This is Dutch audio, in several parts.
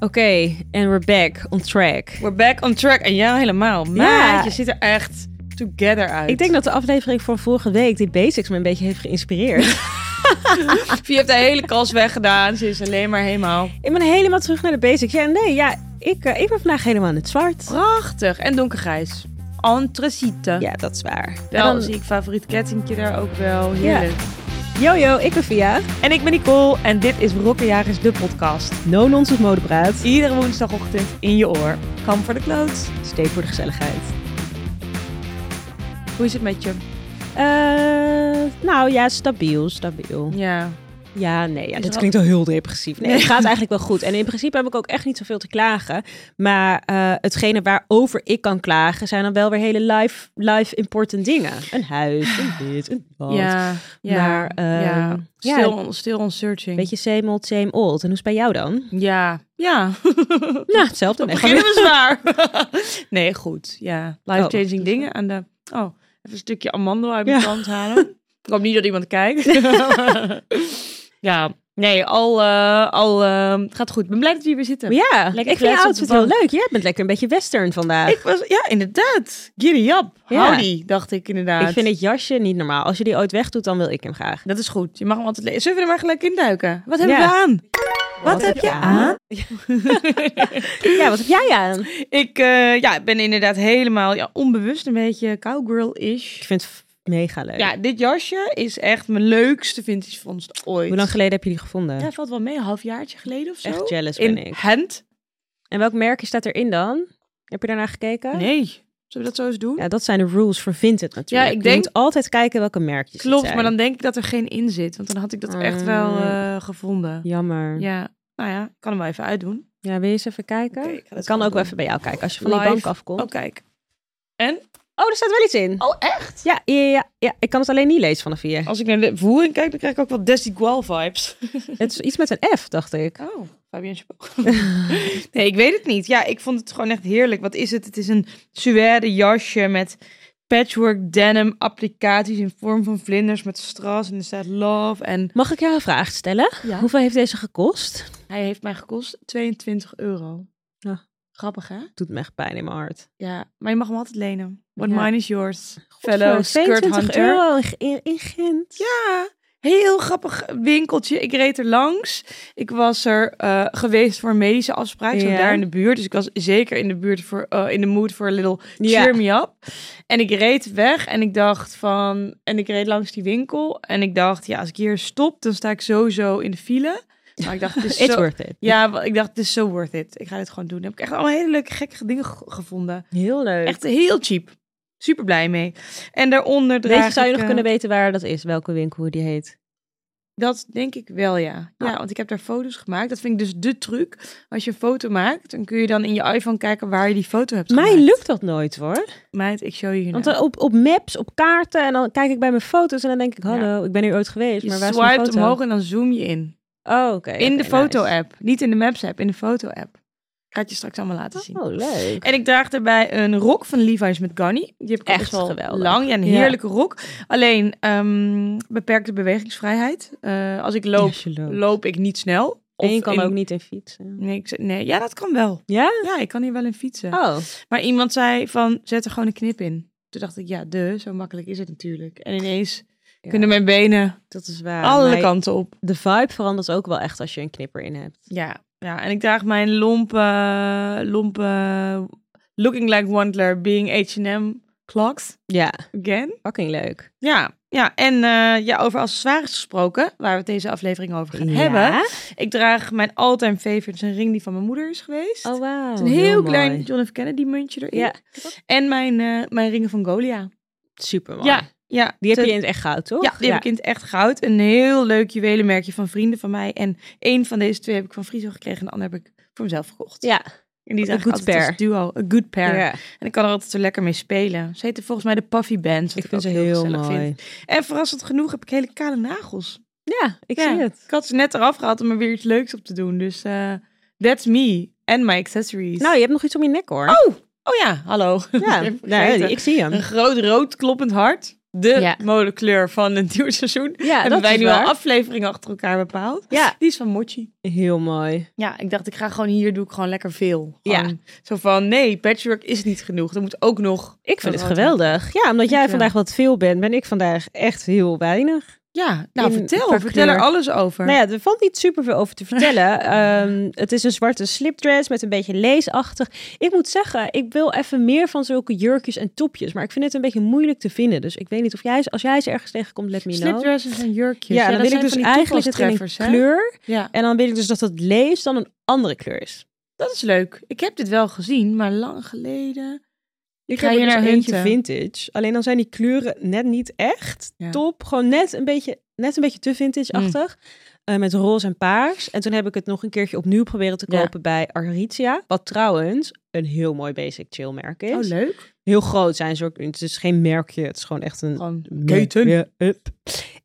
Oké, en we're back on track. We're back on track. En jou helemaal. Maar Ja. je ziet er echt together uit. Ik denk dat de aflevering van vorige week, die basics, me een beetje heeft geïnspireerd. Je hebt de hele kast weggedaan. Ze is alleen maar helemaal ik ben helemaal terug naar de basics. Ja, nee, ja, ik, eh, ik ben vandaag helemaal in het zwart. prachtig. En donkergrijs. Anthracite. Ja, dat is waar. Wel En dan- zie ik favoriet kettingje daar ook wel. Heerlijk. Yo, yo, ik ben Via. En ik ben Nicole en dit is Rokkenjagers, de podcast. No nonsense modepraat. Iedere woensdagochtend in je oor. Kam voor de kloot. Steek voor de gezelligheid. Hoe is het met je? Eh, nou ja, stabiel, stabiel. Ja. Ja, nee, ja, Is dit er al- klinkt al heel depressief. Nee, Nee. het gaat eigenlijk wel goed. En in principe heb ik ook echt niet zoveel te klagen. Maar eh, hetgene waarover ik kan klagen zijn dan wel weer hele life, life important dingen. Een huis, een dit, een dat. Ja. ja. Maar, ehm, ja. ja. Still, on, still on searching. Beetje same old, same old. En hoe is het bij jou dan? Ja. Ja. Nou, hetzelfde. Nee, gewoon Beginnen we zwaar. nee, goed. Ja, life-changing Oh. dingen aan de... Oh, even een stukje amandel uit Ja. mijn tand halen. Ik hoop niet dat iemand kijkt. ja, nee, al, eh, al eh, gaat goed. Ik ben blij dat we hier weer zitten. weer- Ja, ik vind je kletsen op outfit de heel bank. leuk. Jij bent lekker een beetje western vandaag. Ik was, ja, inderdaad. Giddy up. Ja. Howdy, dacht ik inderdaad. Ik vind het jasje niet normaal. Als je die ooit wegdoet, dan wil ik hem graag. Dat is goed. Je mag hem altijd lezen. Zullen we er maar gelijk in duiken? Wat hebben Ja. we aan? Wat heb je aan? Ja, wat heb jij aan? Ik eh, ja, ben inderdaad helemaal ja, onbewust een beetje cowgirl-ish. Ik vind het f- mega leuk. Ja, dit jasje is echt mijn leukste vintage vondst ooit. Hoe lang geleden heb je die gevonden? Ja, valt wel mee. Een halfjaartje geleden of zo. Echt jealous ben In ik. Hand? En welk merkje staat erin dan? Heb je daarnaar gekeken? Nee. Zullen we dat zo eens doen? Ja, dat zijn de rules voor Vinted natuurlijk. Ja, ik Je denk- moet altijd kijken welke merkjes het Klopt, zijn. maar dan denk ik dat er geen in zit. Want dan had ik dat echt wel Mm. eh, gevonden. Jammer. Ja, Ja. Nou ja, ik kan hem wel even uitdoen. wil je eens even kijken? Oké, ik ga dat ik kan gewoon ook wel doen. even bij jou kijken als je van die Live. bank afkomt. Oh, kijk. En? Oh, er staat wel iets in. Oh, echt? Ja, ja, ja, ja, ik kan het alleen niet lezen vanaf hier. Als ik naar de voering kijk, dan krijg ik ook wel Desigual vibes. Het is iets met een F, dacht ik. Oh, Fabien Chabot. nee, ik weet het niet. Ja, ik vond het gewoon echt heerlijk. Wat is het? Het is een suède jasje met patchwork denim applicaties in vorm van vlinders met strass en er staat love en... Mag ik jou een vraag stellen? Ja. Hoeveel heeft deze gekost? Hij heeft mij gekost 22 euro. Ja. Grappig, hè? Doet me echt pijn in mijn hart. Ja, maar je mag hem altijd lenen. What Ja. mine is yours. Voor Fellow skirt 22 hunter. euro in, in, in Gent. Ja, heel grappig winkeltje. Ik reed er langs. Ik was er eh, geweest voor een medische afspraak. Zo Ja. daar in de buurt. Dus ik was zeker in de buurt voor, eh, in de mood voor a little Ja. cheer me up. En ik reed weg en ik dacht van... En ik reed langs die winkel. En ik dacht, ja, als ik hier stop, dan sta ik sowieso in de file. Maar ik dacht, het is It's zo... worth it. Ja, wa- ik dacht, het is zo worth it. Ik ga dit gewoon doen. Dan heb ik echt allemaal hele leuke, gekke dingen ge- gevonden. Heel leuk. Echt heel cheap. Super blij mee. En daaronder draag Weet je, zou je ik, nog eh, kunnen weten waar dat is? Welke winkel hoe die heet? Dat denk ik wel, ja. Ja, Ah. want ik heb daar foto's gemaakt. Dat vind ik dus de truc. Als je een foto maakt, dan kun je dan in je iPhone kijken waar je die foto hebt gemaakt. Mij lukt dat nooit hoor. Meid, ik show je hier Want nou. dan op, op maps, op kaarten en dan kijk ik bij mijn foto's en dan denk ik, Ja. hallo, ik ben hier ooit geweest, Je maar waar is mijn swipe foto? omhoog en dan zoom je in. Oh, oké. in de oké, nice. foto-app. Niet in de Maps-app, in de foto-app. Ik ga het je straks allemaal laten zien. Oh, leuk. En ik draag daarbij een rok van Levi's met Ganni. Die heb ik al Echt best wel geweldig. lang. Ja, een Ja. heerlijke rok. Alleen ehm, beperkte bewegingsvrijheid. Eh, als ik loop, Yes, je loopt. loop ik niet snel. En je kan in- ook niet in fietsen. Nee, ik, nee, ja, dat kan wel. Ja? Ja, ik kan hier wel in fietsen. Oh. Maar iemand zei van, zet er gewoon een knip in. Toen dacht ik, ja, de, zo makkelijk is het natuurlijk. En ineens Ja. kunnen mijn benen Dat is waar. alle Maar kanten op. De vibe verandert ook wel echt als je een knipper in hebt. Ja, ja, en ik draag mijn lompe, lompe, looking like Wandler, being H&M clocks Ja, again. fucking leuk. Ja, ja en eh, ja, over accessoires gesproken, waar we het deze aflevering over gaan Ja? hebben. Oh, Ik draag mijn all-time favorite, is een ring die van mijn moeder is geweest. Oh, wauw. Het is een heel, klein mooi. John F. Kennedy muntje erin. Ja, En mijn, eh, mijn ringen van Golia. super mooi. Ja, ja. Die heb te- je in het echt goud, toch? Ja, die heb ik in het echt goud. Een heel leuk juwelenmerkje van vrienden van mij. En één van deze twee heb ik van Friso gekregen. En de ander heb ik voor mezelf gekocht. Ja. En die a zijn good altijd als pair. duo. A good pair. Ja. En ik kan er altijd zo lekker mee spelen. Ze heten volgens mij de Puffy Bands. Ik Wat ik, vind ze ook heel, heel gezellig mooi. vind. En verrassend genoeg heb ik hele kale nagels. Ja, ik Ja. zie het. Ik had ze net eraf gehaald om er weer iets leuks op te doen. Dus eh, that's me. En my accessories. Nou, je hebt nog iets om je nek, hoor. oh, oh ja, hallo. ja. Ik heb Nee, vergeten. ik zie hem. Een groot rood kloppend hart. de Ja. modekleur van het nieuwe seizoen. Ja, hebben dat wij is nu waar. al afleveringen achter elkaar bepaald. Ja. Die is van Mochi. Heel mooi. Ja, ik dacht, ik ga gewoon hier doe ik gewoon lekker veel. Ja. Gewoon Zo van, nee, patchwork is niet genoeg. Er moet ook nog... Ik vind Oh, het wat geweldig. Ja, omdat jij Dankjewel. vandaag wat veel bent, ben ik vandaag echt heel weinig. Ja, nou In- vertel. qua Vertel er kleur. alles over. Nou ja, er valt niet super veel over te vertellen. Ehm, het is een zwarte slipdress met een beetje leesachtig. Ik moet zeggen, ik wil even meer van zulke jurkjes en topjes. Maar ik vind het een beetje moeilijk te vinden. Dus ik weet niet of jij ze, als jij ze ergens tegenkomt, let me know. Slipdresses en jurkjes. Ja, dan wil ik dus eigenlijk dat er in een treffers, kleur. Ja, En dan wil ik dus dat dat lees dan een andere kleur is. dat is leuk. Ik heb dit wel gezien, maar lang geleden. Ik ga heb er hier dus naar eentje hunten. vintage. Alleen dan zijn die kleuren net niet echt Ja. top. Gewoon net een beetje, net een beetje te vintage-achtig. Mm. Eh, met roze en paars. En toen heb ik het nog een keertje opnieuw proberen te Ja. kopen bij Aritzia. Wat trouwens een heel mooi basic chill merk is. Oh, leuk. heel groot zijn ze ook. Het is geen merkje. Het is gewoon echt een Gewoon merk. Ja, up.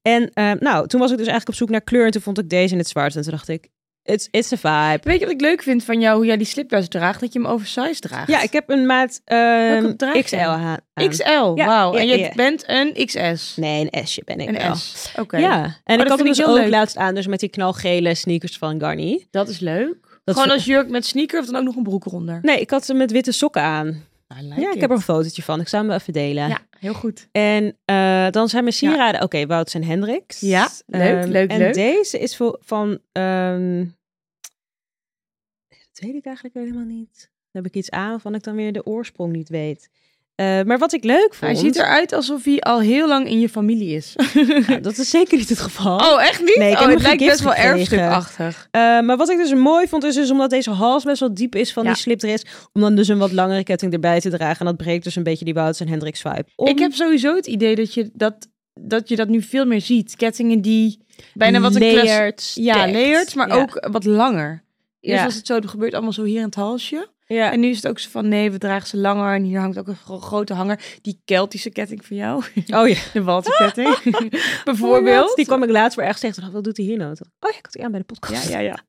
En eh, nou, toen was ik dus eigenlijk op zoek naar kleur. En toen vond ik deze in het zwart. En toen dacht ik, it's, it's a vibe. Weet je wat ik leuk vind van jou, hoe jij die slipdress draagt? Dat je hem oversized draagt. Ja, ik heb een maat ehm, draag je? XL aan. XL, wauw. ja, en je ja. bent een XS. Nee, een S'je ben ik een wel. S. Oké. Oh, Ja, en dat ik had vind hem ik dus heel ook leuk. laatst aan, dus met die knalgele sneakers van Garni. Dat is leuk. Dat Gewoon is- als jurk met sneaker of dan ook nog een broek eronder. Nou, Nee, ik had ze met witte sokken aan. ja, ik heb er een fotootje van. Ik zou hem wel even delen. Ja, heel goed. En eh, dan zijn mijn sieraden, oké, Wouts en Hendricks. Ja, leuk, Ehm, leuk, en leuk. deze is voor, van, ehm, dat weet ik eigenlijk helemaal niet. Dan heb ik iets aan waarvan ik dan weer de oorsprong niet weet. Eh, maar wat ik leuk vond... Hij ziet eruit alsof hij al heel lang in je familie is. Nou, dat is zeker niet het geval. Oh, echt niet? Nee, ik heb nog oh, het geen lijkt best gift gekregen. wel erfstukachtig. Eh, maar wat ik dus mooi vond, is dus omdat deze hals best wel diep is van Ja. die slipdress, om dan dus een wat langere ketting erbij te dragen. En dat breekt dus een beetje die Wouts en Hendricks vibe. Om. Ik heb sowieso het idee dat je dat, dat je dat nu veel meer ziet. Kettingen die bijna wat een klas- layered. Ja, dekt. layered, maar Ja. Oh ook wat langer. Eerst Ja. was het zo, het gebeurt allemaal zo hier in het halsje. Ja. En nu is het ook zo van, nee, we dragen ze langer. En hier hangt ook een gro- grote hanger. Die Keltische ketting van jou. Oh ja, De Walterketting. bijvoorbeeld. bijvoorbeeld. Die kwam ik laatst weer ergens tegen. Toen dacht ik, Wat doet hij hier nou? Toen dacht ik, Oh ja, ik had die aan bij de Ja, podcast. ja, ja.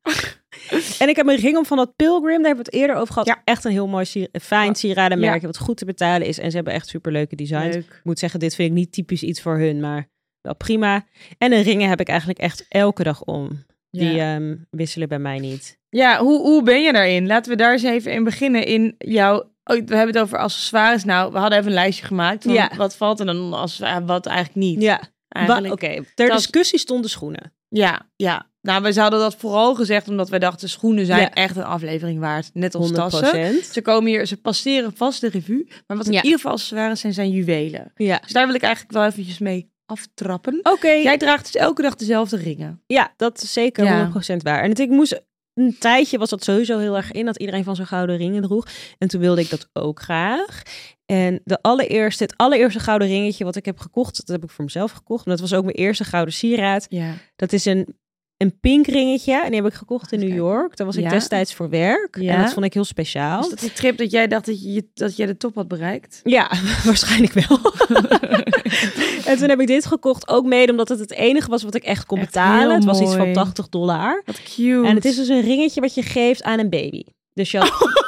En ik heb een ring om van dat Pilgrim. Daar hebben we het eerder over gehad. Ja. Echt een heel mooi, sier- fijn sieradenmerk. Ja. Wat goed te betalen is. En ze hebben echt super leuke designs. Leuk. Ik moet zeggen, dit vind ik niet typisch iets voor hun. Maar wel prima. En de ringen heb ik eigenlijk echt elke dag om. Die ja. ehm, wisselen bij mij niet. Ja, hoe, hoe ben je daarin? Laten we daar eens even in beginnen. In jouw, oh, we hebben het over accessoires. Nou, we hadden even een lijstje gemaakt. Van Ja. Wat valt er dan onder accessoires, wat eigenlijk niet? Ja, wa- oké. Eigenlijk. Ter Dat- discussie stonden schoenen. Ja, ja. Nou, we hadden dat vooral gezegd omdat wij dachten, schoenen zijn Ja. echt een aflevering waard. Net als 100%. tassen. Ze komen hier, ze passeren vast de revue. Maar wat in Ja. ieder geval accessoires zijn, zijn juwelen. Ja. Dus daar wil ik eigenlijk wel eventjes mee aftrappen. Oké, Jij draagt dus elke dag dezelfde ringen. ja, dat is zeker Ja. 100% waar. En het, ik moest een tijdje was dat sowieso heel erg in dat iedereen van zijn gouden ringen droeg. En toen wilde ik dat ook graag. En de allereerste, het allereerste gouden ringetje wat ik heb gekocht, dat heb ik voor mezelf gekocht. Maar dat was ook mijn eerste gouden sieraad. Ja. Dat is een, een pink ringetje. En die heb ik gekocht in New Kijk. York. Daar was ik Ja. destijds voor werk. Ja. En dat vond ik heel speciaal. Was dat die trip dat jij dacht dat je, dat jij de top had bereikt? Ja, waarschijnlijk wel. en toen heb ik dit gekocht ook mede omdat het het enige was wat ik echt kon Echt betalen. heel Het was iets van mooi. 80 dollar. Wat cute. En het is dus een ringetje wat je geeft aan een baby. Dus je had...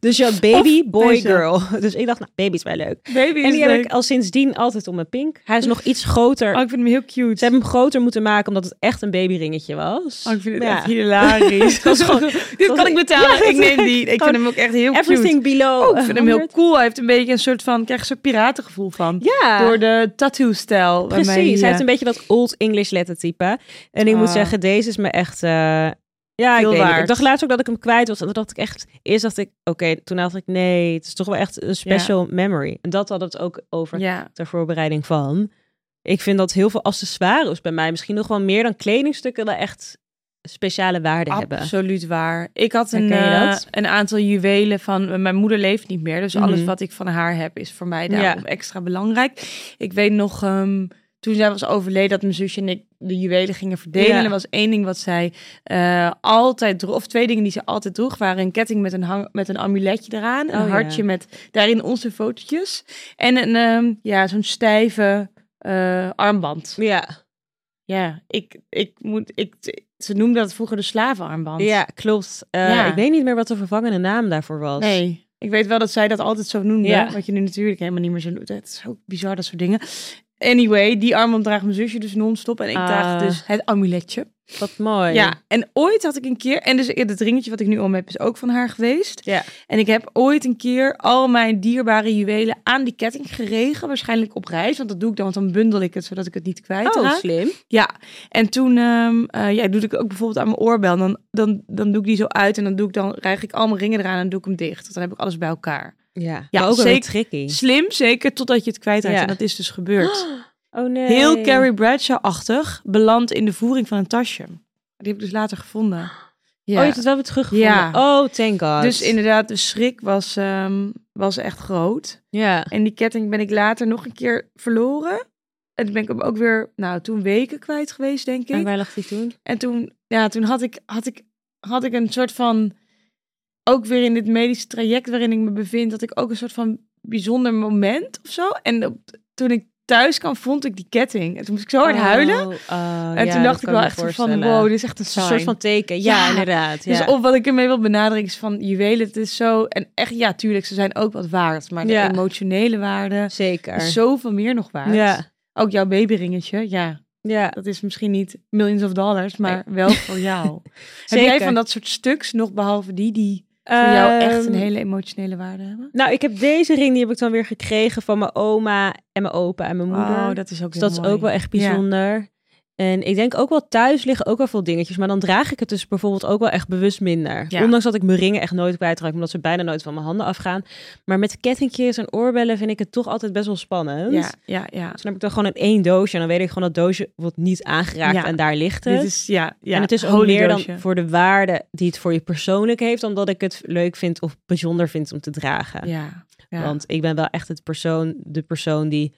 dus je had baby, boy, deze. girl. Dus ik dacht, nou, baby is wel leuk. baby En die heb ik al sindsdien altijd om mijn pink. Hij is nog iets groter. Oh, ik vind hem heel cute. Ze hebben hem groter moeten maken omdat het echt een babyringetje was. Oh, ik vind het Maar ja, echt hilarisch. Het was gewoon, dit was kan ik een- betalen. Ja, dat ik neem is- die. Ik gewoon vind hem ook echt heel cute. Everything below. Oh, ik vind hem heel 100. cool. Hij heeft een beetje een soort van, krijg je zo'n piratengevoel van. Ja. Door de tattoo-stijl. waarmee Precies, hij hij, heeft een beetje dat old English lettertype. En ik moet Ah. zeggen, deze is me echt... eh, ja, ik, Heel weet niet. ik waard. dacht laatst ook dat ik hem kwijt was. En toen dacht ik echt... Eerst dacht ik, oké, toen dacht ik, nee, het is toch wel echt een special memory. En dat hadden we het ook over Ja. ter voorbereiding van. Ik vind dat heel veel accessoires bij mij, misschien nog wel meer dan kledingstukken, wel echt speciale waarde hebben. Absoluut waar. Ik had een, Herken je eh, dat? een aantal juwelen van... eh, Mijn moeder leeft niet meer, dus alles Mhm. wat ik van haar heb is voor mij Ja. daarom extra belangrijk. Ik weet nog, ehm, toen zij was overleden, dat mijn zusje en ik de juwelen gingen verdelen. Ja. Er was één ding wat zij eh, altijd droeg, of twee dingen die ze altijd droeg, waren een ketting met een, hang, met een amuletje eraan, een Oh, ja. hartje met daarin onze fotootjes en een, ehm, ja, zo'n stijve eh, armband. Ja, Ja, ik, ik moet, ik, ze noemden dat vroeger de slavenarmband. ja klopt. Eh, Ja. Ik weet niet meer wat de vervangende naam daarvoor was. Nee. Ik weet wel dat zij dat altijd zo noemde. Ja. Wat je nu natuurlijk helemaal niet meer zo doet. Het is ook bizar, dat soort dingen. Anyway, die armband draagt mijn zusje dus non-stop. En ik draag Ah. Oh, dus het amuletje. Wat mooi. Ja, en ooit had ik een keer... En dus het ringetje wat ik nu om heb is ook van haar geweest. Ja. En ik heb ooit een keer al mijn dierbare juwelen aan die ketting geregen. Waarschijnlijk op reis. Want dat doe ik dan, want dan bundel ik het zodat ik het niet kwijt Oh, raak. slim. Ja, en toen ehm eh, ja, doe ik ook bijvoorbeeld aan mijn oorbel. Dan, dan, dan doe ik die zo uit en dan, doe ik, dan rijg ik al mijn ringen eraan en doe ik hem dicht. Want dan heb ik alles bij elkaar. Ja, Ja, maar ook wel zeker- weer tricky. Slim, zeker, totdat je het kwijtraakt. Ja. En dat is dus gebeurd. Oh nee. Heel Carrie Bradshaw-achtig beland in de voering van een tasje. Die heb ik dus later gevonden. Oh, je hebt het wel weer teruggevonden. Ja. Oh, thank god. Dus inderdaad, de schrik was, ehm, was echt groot. Ja. En die ketting ben ik later nog een keer verloren. En toen ben ik hem ook weer, nou, toen weken kwijt geweest, denk ik. En waar lag die toen? En toen, ja, toen had, ik, had, ik, had ik een soort van. Ook weer in dit medische traject waarin ik me bevind, had ik ook een soort van bijzonder moment of zo. En op- toen ik thuis kwam, vond ik die ketting. En toen moest ik zo hard huilen. Oh, oh, en ja, toen dat dacht ik kan wel me echt van, voorstellen. wow, dit is echt een, Het is een soort van teken. Ja, Ja. inderdaad. Ja. Dus of wat ik ermee wil benadrukken is van juwelen, het is zo. En echt, ja, tuurlijk, ze zijn ook wat waard. Maar Ja. de emotionele waarde Zeker. is zoveel meer nog waard. ja. Ook jouw babyringetje, ja, Ja. dat is misschien niet millions of dollars, maar wel voor jou. Heb jij Zeker. van dat soort stuks nog behalve die die voor jou echt een Ehm, hele emotionele waarde hebben? Nou, ik heb deze ring, die heb ik dan weer gekregen van mijn oma en mijn opa en mijn moeder. Oh, dat is ook dus weer dat is mooi. ook wel echt Ja. bijzonder. En ik denk ook wel thuis liggen ook wel veel dingetjes. Maar dan draag ik het dus bijvoorbeeld ook wel echt bewust minder. Ja. Ondanks dat ik mijn ringen echt nooit kwijtraak. Omdat ze bijna nooit van mijn handen afgaan. Maar met kettingjes en oorbellen vind ik het toch altijd best wel spannend. Ja, ja, ja. Dus dan heb ik dan gewoon in één doosje. En dan weet ik gewoon dat doosje wordt niet aangeraakt. Ja. En daar ligt het. Dit is, ja, ja. en het is ook holy meer doosje. dan voor de waarde die het voor je persoonlijk heeft. Dan dat ik het leuk vind of bijzonder vind om te dragen. Ja, ja, Want ik ben wel echt het persoon, de persoon die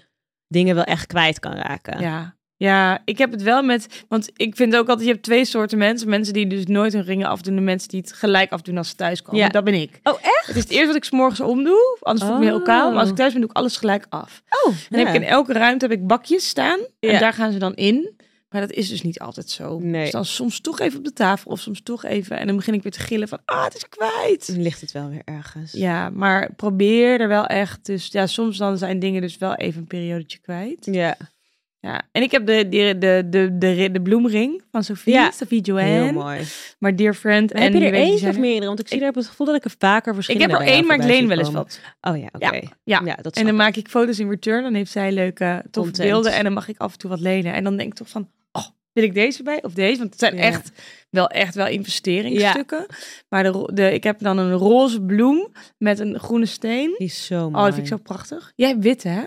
dingen wel echt kwijt kan raken. ja. Ja, ik heb het wel met... Want ik vind ook altijd, je hebt twee soorten mensen. Mensen die dus nooit hun ringen afdoen en mensen die het gelijk afdoen als ze thuis komen. Ja. Dat ben ik. Oh, echt? Het is het eerst wat ik 's morgens omdoe, anders voel ik me heel kaal. Maar als ik Oh. thuis ben, doe ik alles gelijk af. Oh, En dan heb ik in elke ruimte heb ik bakjes staan en Ja. daar gaan ze dan in. Maar dat is dus niet altijd zo. Nee. Dus dan soms toch even op de tafel of soms toch even. En dan begin ik weer te gillen van, ah, het is kwijt. Dan ligt het wel weer ergens. Ja, maar probeer er wel echt. Dus ja, soms dan zijn dingen dus wel even een periodetje kwijt. Ja. Ja. En ik heb de, de, de, de, de, ri- de bloemring van Sophie, Ja. Sophie Heel Joanne. mooi. Maar dear friend. Maar heb en je die er weet je eentje zijn of er- meerdere? Want ik zie Ik- daar op het gevoel dat ik er vaker Ik verschillende heb er bij jou één, maar ik voorbij leen wel eens zie wat. komen. Oh ja, oké. Ja, dat En dan snap maak ik foto's in return. Dan heeft zij leuke toffe Content. beelden. En dan mag ik af en toe wat lenen. En dan denk ik toch van, oh, wil ik deze bij? Of deze? Want het zijn Ja. echt, wel, echt wel investeringsstukken. Maar de, ro- de, ik heb dan een roze bloem met een groene steen. ik. Die is zo mooi. Oh, dat vind ik zo prachtig. Jij hebt witte, hè?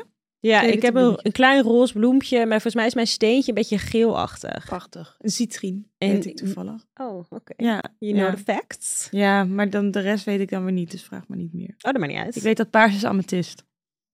Ja, Twee ik witte heb een, bloemetjes. een klein roze bloempje, maar volgens mij is mijn steentje een beetje geelachtig. Prachtig. Een citrien, En- weet ik toevallig. Oh, oké. Ja, You know Ja. the facts. ja, maar dan de rest weet ik dan weer niet. Dus vraag me niet meer. Oh, dat maakt niet uit. Ik weet dat paars is amethyst.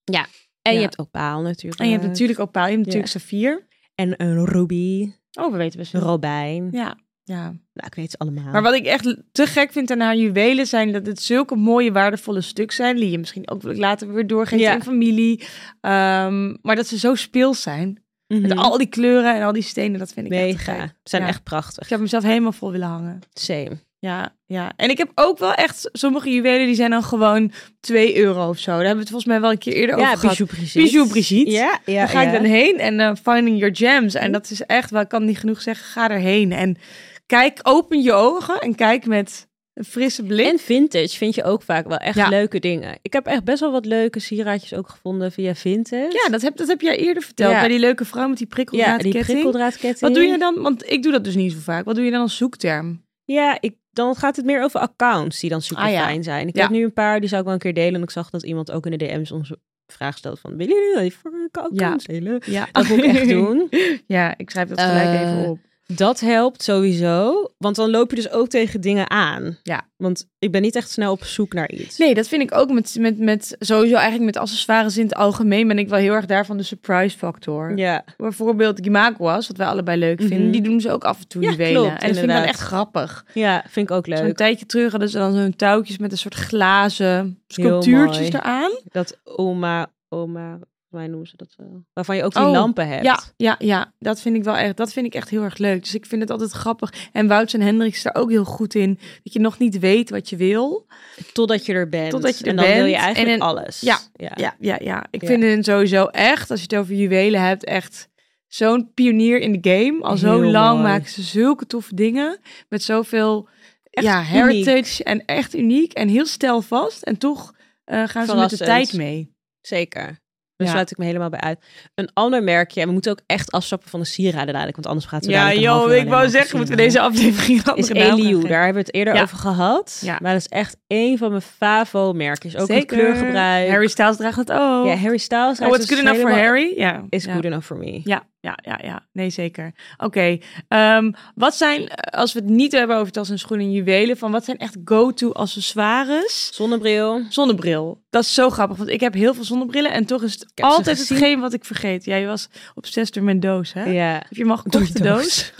en je ja. hebt opaal natuurlijk. En je hebt natuurlijk opaal, je hebt Eh, Ja. natuurlijk saffier. En een ruby, Oh, we weten best een wel. robijn. Ja, ja. Nou, ik weet ze allemaal. Maar wat ik echt te gek vind aan haar juwelen zijn dat het zulke mooie waardevolle stuk zijn die je misschien ook later weer doorgeeft Ja. aan familie. Ehm, maar dat ze zo speels zijn Mhm. met al die kleuren en al die stenen, dat vind ik echt te Mega. gek. Ze zijn Ja. echt prachtig. Ik heb mezelf helemaal vol willen hangen. Same. Ja, ja. En ik heb ook wel echt sommige juwelen die zijn dan gewoon 2 euro of zo. Daar hebben we het volgens mij wel een keer eerder over gehad. Brigitte. Bijou Brigitte. Ja, ja, Daar ga ja. Mhm. ik dan heen en eh, Finding Your Gems. En dat is echt, wel, ik kan niet genoeg zeggen, ga erheen. En kijk, open je ogen en kijk met een frisse blik. En vintage vind je ook vaak wel echt Ja. leuke dingen. Ik heb echt best wel wat leuke sieraadjes ook gevonden via vintage. Ja, dat heb, dat heb jij eerder verteld. Ja. Bij die leuke vrouw met die ja prikkeldraadketting. die prikkeldraadketting. Wat doe je dan? Want ik doe dat dus niet zo vaak. Wat doe je dan als zoekterm? Ja, ik, dan gaat het meer over accounts die dan super Ah, ja. fijn zijn. Ik Ja. heb nu een paar, die zou ik wel een keer delen. En ik zag dat iemand ook in de DM's ons vraag stelde van... Willen jullie wel even accounts delen? Ja, Dat moet ik echt doen. Ja, ik schrijf dat gelijk Eh, even op. Dat helpt sowieso, want dan loop je dus ook tegen dingen aan. Ja. Want ik ben niet echt snel op zoek naar iets. Nee, dat vind ik ook met, met, met sowieso eigenlijk met accessoires in het algemeen ben ik wel heel erg daar van de surprise factor. Ja, Bijvoorbeeld Gimaguas, wat wij allebei leuk vinden, Mhm. die doen ze ook af en toe Ja, juwelen. klopt, en dat vind ik dan inderdaad. echt grappig. ja, vind ik ook Zo'n leuk. tijdje terug hadden ze dan zo'n touwtjes met een soort glazen sculptuurtjes mooi. eraan. Dat oma, oma, Volgens mij noemen ze dat wel. Waarvan je ook die Oh, lampen hebt. Ja, ja, ja, dat vind ik wel echt. Dat vind ik echt heel erg leuk. Dus ik vind het altijd grappig. En Wout en Hendrik is daar ook heel goed in. Dat je nog niet weet wat je wil. Totdat je er bent. Totdat je er en dan wil je bent eigenlijk en dan- alles. Ja, ja. Ja, ja, ja. Ik Ja. vind het sowieso echt, als je het over juwelen hebt, echt zo'n pionier in de game. Al zo Heel lang mooi. maken ze zulke toffe dingen. Met zoveel Echt ja, uniek. heritage en echt uniek en heel stijlvast. En toch eh, gaan ze met de Verrassend. tijd mee. Zeker. Daar Ja. sluit ik me helemaal bij uit. Een ander merkje. En we moeten ook echt afstappen van de sieraden dadelijk. Want anders gaat het Ja, joh, ik wou zeggen, moeten we deze aflevering een is andere naam gaan Eliu, geven. daar hebben we het eerder Ja. over gehad. Ja. Maar dat is echt een van mijn favo-merkjes. Ook het Zeker. kleurgebruik. Harry Styles draagt het ook. ja, Harry Styles. Oh, what's good enough for Harry? Ja. Is ja. good enough for me. Ja, ja, ja, ja. Nee, zeker. Oké. ehm, wat zijn, eh, als we het niet hebben over tas en schoenen en juwelen, van wat zijn echt go-to accessoires? Zonnebril. Zonnebril. Dat is zo grappig, want ik heb heel veel zonnebrillen en toch is het heb ze altijd gezien. hetgeen wat ik vergeet. Jij was obsessed door mijn doos, hè? Ja. Heb je hem al gekocht, Door de je doos?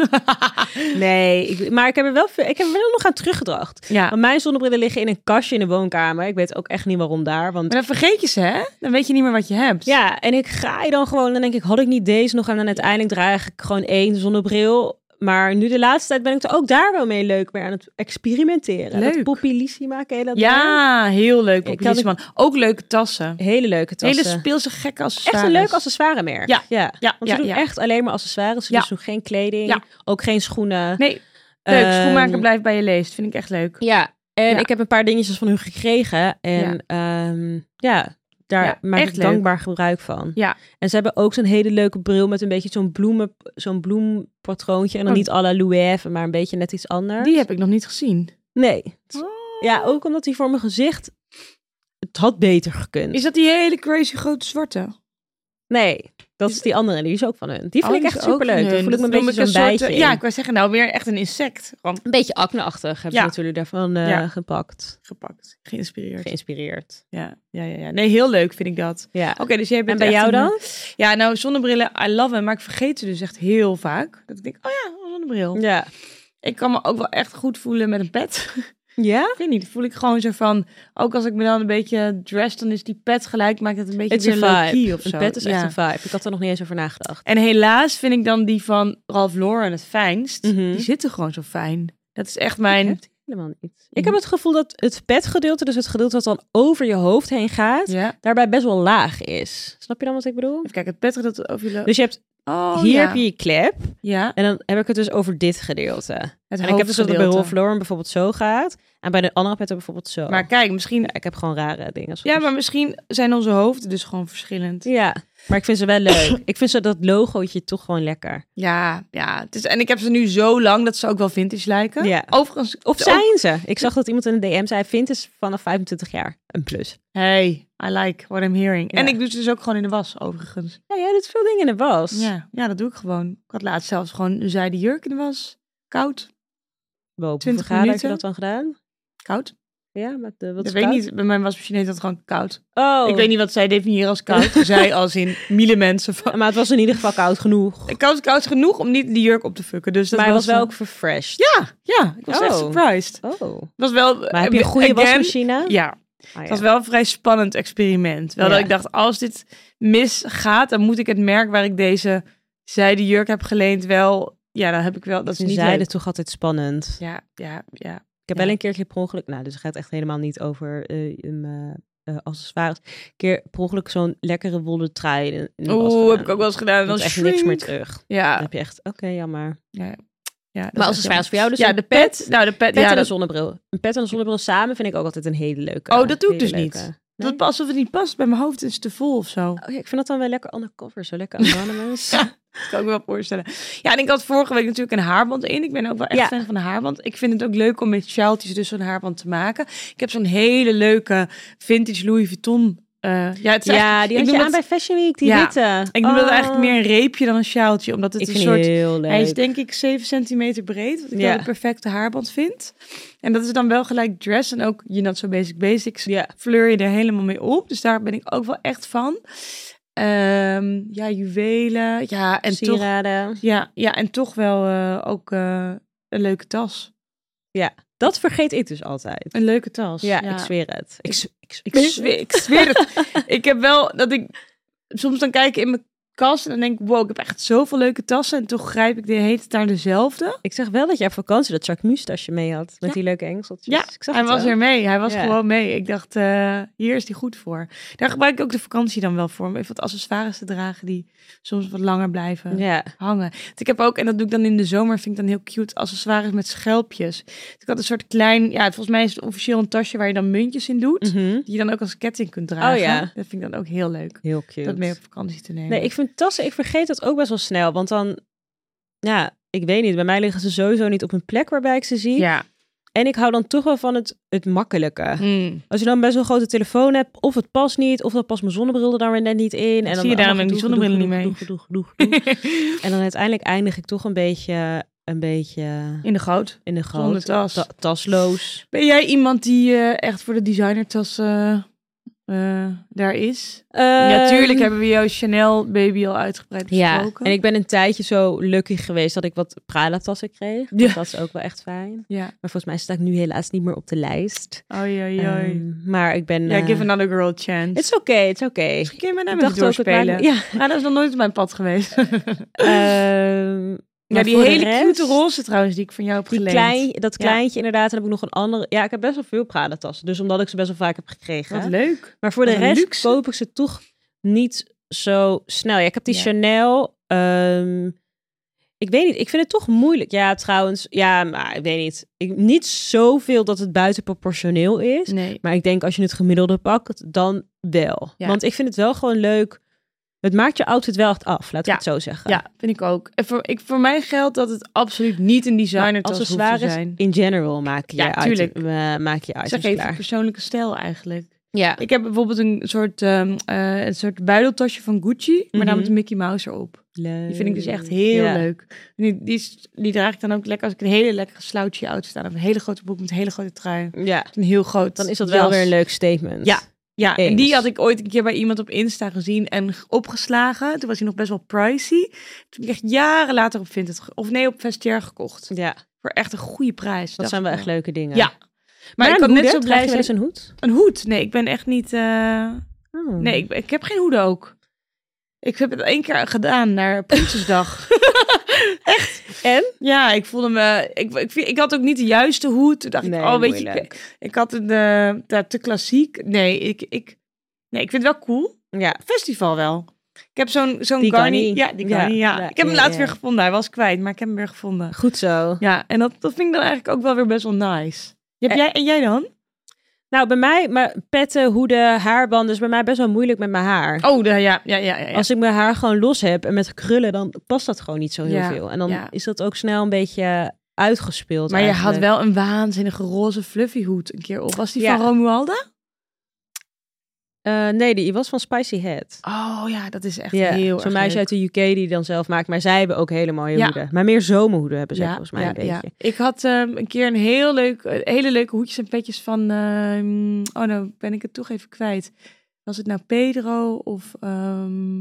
Nee, ik, maar ik heb er wel veel, ik heb er wel nog aan teruggedacht. ja. Want mijn zonnebrillen liggen in een kastje in de woonkamer. Ik weet ook echt niet waarom daar. Want Maar dan vergeet je ze, hè? Dan weet je niet meer wat je hebt. ja, en ik ga je dan gewoon. Dan denk ik, had ik niet deze nog? En dan uiteindelijk draag ik gewoon één zonnebril. Maar nu de laatste tijd ben ik er ook daar wel mee leuk mee aan het experimenteren. Leuk. Dat Poppy Lissima, ken je dat? merk? Ja, heel leuk. Ik Populist, man. Ook leuke tassen. Hele leuke tassen. Hele speelse gekke accessoires. Echt een leuk accessoiremerk. Ja. ja. Ja, Want ja, ze doen ja. echt alleen maar accessoires. Ze Ja. doen dus geen kleding, Ja. ook geen schoenen. Nee, leuk. Ehm, Schoenmaker blijft bij je leest. Vind ik echt leuk. Ja, en Ja. ik heb een paar dingetjes van hun gekregen. En ja, ja daar Ja, maak echt ik leuk. dankbaar gebruik van. Ja. En ze hebben ook zo'n hele leuke bril met een beetje zo'n bloemen, zo'n bloempatroontje. En dan Oh. niet à la Louis Vuitton, maar een beetje net iets anders. Die Oh. heb ik nog niet gezien. Nee. Ja, ook omdat die voor mijn gezicht... Het had beter gekund. Is dat die hele crazy grote zwarte? Nee, dat is die andere. Die is ook van hun. Die vind Oh, ik echt is ook superleuk. van Dan hun. voel ik me een Dat beetje noem zo'n soort, bijtje eh, in. Ja, ik wou zeggen, nou weer echt een insect want Een beetje acneachtig hebben Ja. ze natuurlijk daarvan eh, Ja. gepakt. gepakt. Geïnspireerd. Geïnspireerd. Ja, ja, ja, ja. Nee, heel leuk vind ik dat. Ja. Oké, dus jij En bent bij echt jou een, dan? eh, Ja, nou zonnebrillen, I love them, maar ik vergeet ze dus echt heel vaak. Dat ik denk, oh ja, een zonnebril. Ja. Ik kan me ook wel echt goed voelen met een pet. Ja? ik weet niet, voel ik gewoon zo van, ook als ik me dan een beetje dress, dan is die pet gelijk, maakt het een beetje It's weer a low-key vibe. of zo. Een pet is Ja. echt een vibe. Ik had er nog niet eens over nagedacht. En helaas vind ik dan die van Ralph Lauren het fijnst. Mhm. Die zitten gewoon zo fijn. Dat is echt mijn... Ik heb die helemaal niet. Ik heb het gevoel dat het petgedeelte, dus het gedeelte dat dan over je hoofd heen gaat, Ja. daarbij best wel laag is. Snap je dan wat ik bedoel? Even kijken, het pettig dat het over je... Dus je hebt, oh, hier ja. heb je je klep Ja, en dan heb ik het dus over dit gedeelte. het en ik heb dus dat het bij hoofdgedeelte. Rolf Lauren bijvoorbeeld zo gaat en bij de andere pet bijvoorbeeld zo. Maar kijk, misschien... Ja, ik heb gewoon rare dingen. soms. Ja, maar misschien zijn onze hoofden dus gewoon verschillend. Ja, maar ik vind ze wel leuk. ik vind ze dat logootje toch gewoon lekker. Ja, ja. Het is, en ik heb ze nu zo lang dat ze ook wel vintage lijken. Ja. Overigens... Of de- zijn ze? Ik zag dat iemand in de DM zei, vindt is vanaf 25 jaar een plus. Hey, I like what I'm hearing. En Ja. ik doe ze dus ook gewoon in de was, overigens. Ja, jij doet veel dingen in de was. Ja, ja, dat doe ik gewoon. Ik had laatst zelfs gewoon een zijde jurk in de was. Koud. Wow, op 20 hoeveel graden heb je minuten? dat dan gedaan? Koud? Ja, met de, wat dat is weet ik koud? niet. Bij mijn wasmachine heet dat gewoon koud. Oh, Ik weet niet wat zij definiëren als koud. zij als in miele mensen van... maar het was in ieder geval koud genoeg. Koud, koud is genoeg om niet die jurk op te fukken. Dus dat maar hij was wel ook eh, verfreshed. Ja, ja. Ik was echt Oh. surprised. Het Oh. was wel... Maar heb je een goede again- wasmachine? Ja, Ah, het ja. was wel een vrij spannend experiment. Wel dat Ja. ik dacht, als dit misgaat, dan moet ik het merk waar ik deze zijde jurk heb geleend wel... Ja, dan heb ik wel... Dat is Ze niet zeiden leuk. toch altijd spannend. Ja, ja, ja. Ik heb Ja. wel een keertje per ongeluk, nou, dus het gaat echt helemaal niet over eh een, eh, eh, accessoires. Een keer per ongeluk zo'n lekkere wollen trui. in- in de was Oeh, gedaan. heb ik ook wel eens gedaan. En Dan dan is echt niks meer shrink. Ah. terug. Ja, Dan heb je echt, oké, jammer. ja. dat is Maar echt als jammer. accessoires voor jou dus ja, een de pet. Nou, de pet. pet ja, en een dat, zonnebril. Een pet en een zonnebril samen vind ik ook altijd een hele leuke. Oh, dat doe ik hele dus niet. leuke. dat past alsof het niet past. Bij mijn hoofd is het te vol of zo. Oh, ja, ik vind dat dan wel lekker undercover. Zo lekker anonymous. ja. Dat kan ik me wel voorstellen. Ja, en ik had vorige week natuurlijk een haarband in. Ik ben ook wel echt Ja. fan van de haarband. Ik vind het ook leuk om met sjaaltjes dus zo'n haarband te maken. Ik heb zo'n hele leuke vintage Louis Vuitton. eh, ja, het is eigenlijk- die had noem je dat- aan bij Fashion Week, die Ja, witte. ik noem dat Oh, eigenlijk meer een reepje dan een sjaaltje. Omdat het Ik een vind soort... die heel leuk. Hij is denk ik 7 centimeter breed, wat ik Ja. dan de perfecte haarband vind. En dat is dan wel gelijk dress en ook je not so basic basics Ja. fleur je er helemaal mee op. Dus daar ben ik ook wel echt van. Ehm, ja, juwelen. Ja, en, toch, sieraden. ja, ja, en toch wel eh, ook eh, een leuke tas. Dat vergeet ik dus altijd. Een leuke tas. Ja, ik zweer het. Ik, z- ik, z- Ik zweer, ik zweer het. ik heb wel dat ik soms dan kijk ik in mijn kast en dan denk ik, wow, ik heb echt zoveel leuke tassen. En toch grijp ik de hele tijd naar dezelfde. Ik zag wel dat je op vakantie dat Jacques Mus tasje mee had. Met Ja. die leuke engeltjes. Ja, Dus ik zag Hij het was wel. er mee. Hij was Ja. gewoon mee. Ik dacht, eh, hier is die goed voor. Daar gebruik ik ook de vakantie dan wel voor. Om even wat accessoires te dragen die soms wat langer blijven. Ja. hangen. Want ik heb ook, en dat doe ik dan in de zomer, vind ik dan heel cute, accessoires met schelpjes. Dus ik had een soort klein, ja, het- volgens mij is het officieel een tasje waar je dan muntjes in doet. Mhm. Oh, Die je dan ook als ketting kunt dragen. ja. Dat vind ik dan ook heel leuk. Heel cute. Dat mee op vakantie te nemen. Nee, ik vind tassen, ik vergeet dat ook best wel snel. Want dan, ja, ik weet niet. Bij mij liggen ze sowieso niet op een plek waarbij ik ze zie. Ja. En ik hou dan toch wel van het, het makkelijke. Mm. Als je dan best wel een grote telefoon hebt, of het past niet, of dan past mijn zonnebril er dan weer net niet in. En Zie dan je, allemaal daarom heb ik die gedoe, zonnebril gedoe, niet mee. gedoe, gedoe, gedoe, gedoe. en dan uiteindelijk eindig ik toch een beetje, een beetje in de goot. in de Zonder grote tas. ta- tasloos. Ben jij iemand die eh, echt voor de designertas eh, eh, daar is? Natuurlijk Ehm, hebben we jouw Chanel baby al uitgebreid Ja, besproken. en ik ben een tijdje zo lucky geweest dat ik wat Prada-tassen kreeg. Ja. Dat is ook wel echt fijn. Ja. Maar volgens mij sta ik nu helaas niet meer op de lijst. Oei, oei, oei. Ehm, maar ik ben... ja, eh, give another girl a chance. It's okay, it's okay. Misschien kun je met hem Ik even dacht ook, het maakt doorspelen. niet- Ja, Maar dat is nog nooit mijn pad geweest. ehm, ja, maar die voor de hele rest- cute roze trouwens die ik van jou heb Die geleend. klein, dat Ja. kleintje inderdaad. En heb ik nog een andere. Ja, ik heb best wel veel Prada-tassen. Dus omdat ik ze best wel vaak heb gekregen. Wat leuk. Maar voor de Wat een rest luxe. koop ik ze toch niet zo snel. Ja, ik heb die Ja. Chanel. ehm, ik weet niet. Ik vind het toch moeilijk. Ja, trouwens. Ja, maar ik weet niet. Ik, niet zoveel dat het buiten proportioneel is. Nee. Maar ik denk als je het gemiddelde pakt, dan wel. Ja. Want ik vind het wel gewoon leuk. Het maakt je outfit wel echt af, laat ik Ja. het zo zeggen. Ja, vind ik ook. En voor, ik, voor mij geldt dat het absoluut niet een designer tas hoeft te accessoires zijn. in general maak je Ja, je tuurlijk. item- eh, maak je items Zeg even klaar. persoonlijke stijl eigenlijk. Ja. Ik heb bijvoorbeeld een soort, ehm, eh, een soort buideltasje van Gucci, maar Mhm. dan met een Mickey Mouse erop. Leuk. Die vind ik dus echt heel Ja. leuk. Die, die, is- die draag ik dan ook lekker als ik een hele lekkere slouchy outfit aan heb. Een hele grote broek met een hele grote trui. Ja. Een heel groot Dan is dat wel jas. weer een leuk statement. Ja. Ja, en Eens. die had ik ooit een keer bij iemand op Insta gezien en g- opgeslagen. Toen was hij nog best wel pricey. Toen heb ik echt jaren later op Vinted, ge- of nee, op Vestiaire gekocht. Ja, dat Voor echt een goede prijs. dacht zijn wel ik echt leuke dingen. Ja. Maar ik kan een net hoed, zo hè? blij Draag je wel eens zijn. een hoed? Een hoed? Nee, ik ben echt niet... eh, Oh. Nee, ik, ik heb geen hoeden ook. Ik heb het één keer gedaan naar Prinsesdag. En? ja, ik voelde me... Ik, ik, vind- ik had ook niet de juiste hoed. Toen dacht ik, oh, weet je, ik, ik had een eh, daar te klassiek. Nee ik, ik, nee, ik vind het wel cool. Ja. festival wel. Ik heb zo'n zo'n Die Garni. Garni. Ja, die Ja, Garni, ja. ja, Ik heb hem ja, laatst ja. weer gevonden. Hij was kwijt, maar ik heb hem weer gevonden. Goed zo. Ja, en dat, dat vind ik dan eigenlijk ook wel weer best wel nice. Heb jij, en jij dan? Nou, bij mij, maar petten, hoeden, haarbanden is bij mij best wel moeilijk met mijn haar. Oh, de, ja, ja, ja. ja, ja. Als ik mijn haar gewoon los heb en met krullen, dan past dat gewoon niet zo heel Ja, veel. En dan ja. is dat ook snel een beetje uitgespeeld. maar je had eigenlijk. wel een waanzinnige roze fluffy hoed een keer op. Was die Ja. van Romualda? Eh, nee, die was van Spicy Head. Oh ja, dat is echt Ja, heel zo'n meisje uit de UK die die dan zelf maakt. Maar zij hebben ook hele mooie Ja. hoeden. Maar meer zomerhoeden hebben zij volgens mij een beetje. Ik had ehm, een keer een heel leuk, eh, hele leuke hoedjes en petjes van... ehm, oh, nou ben ik het toch even kwijt. Was het nou Pedro of... ehm,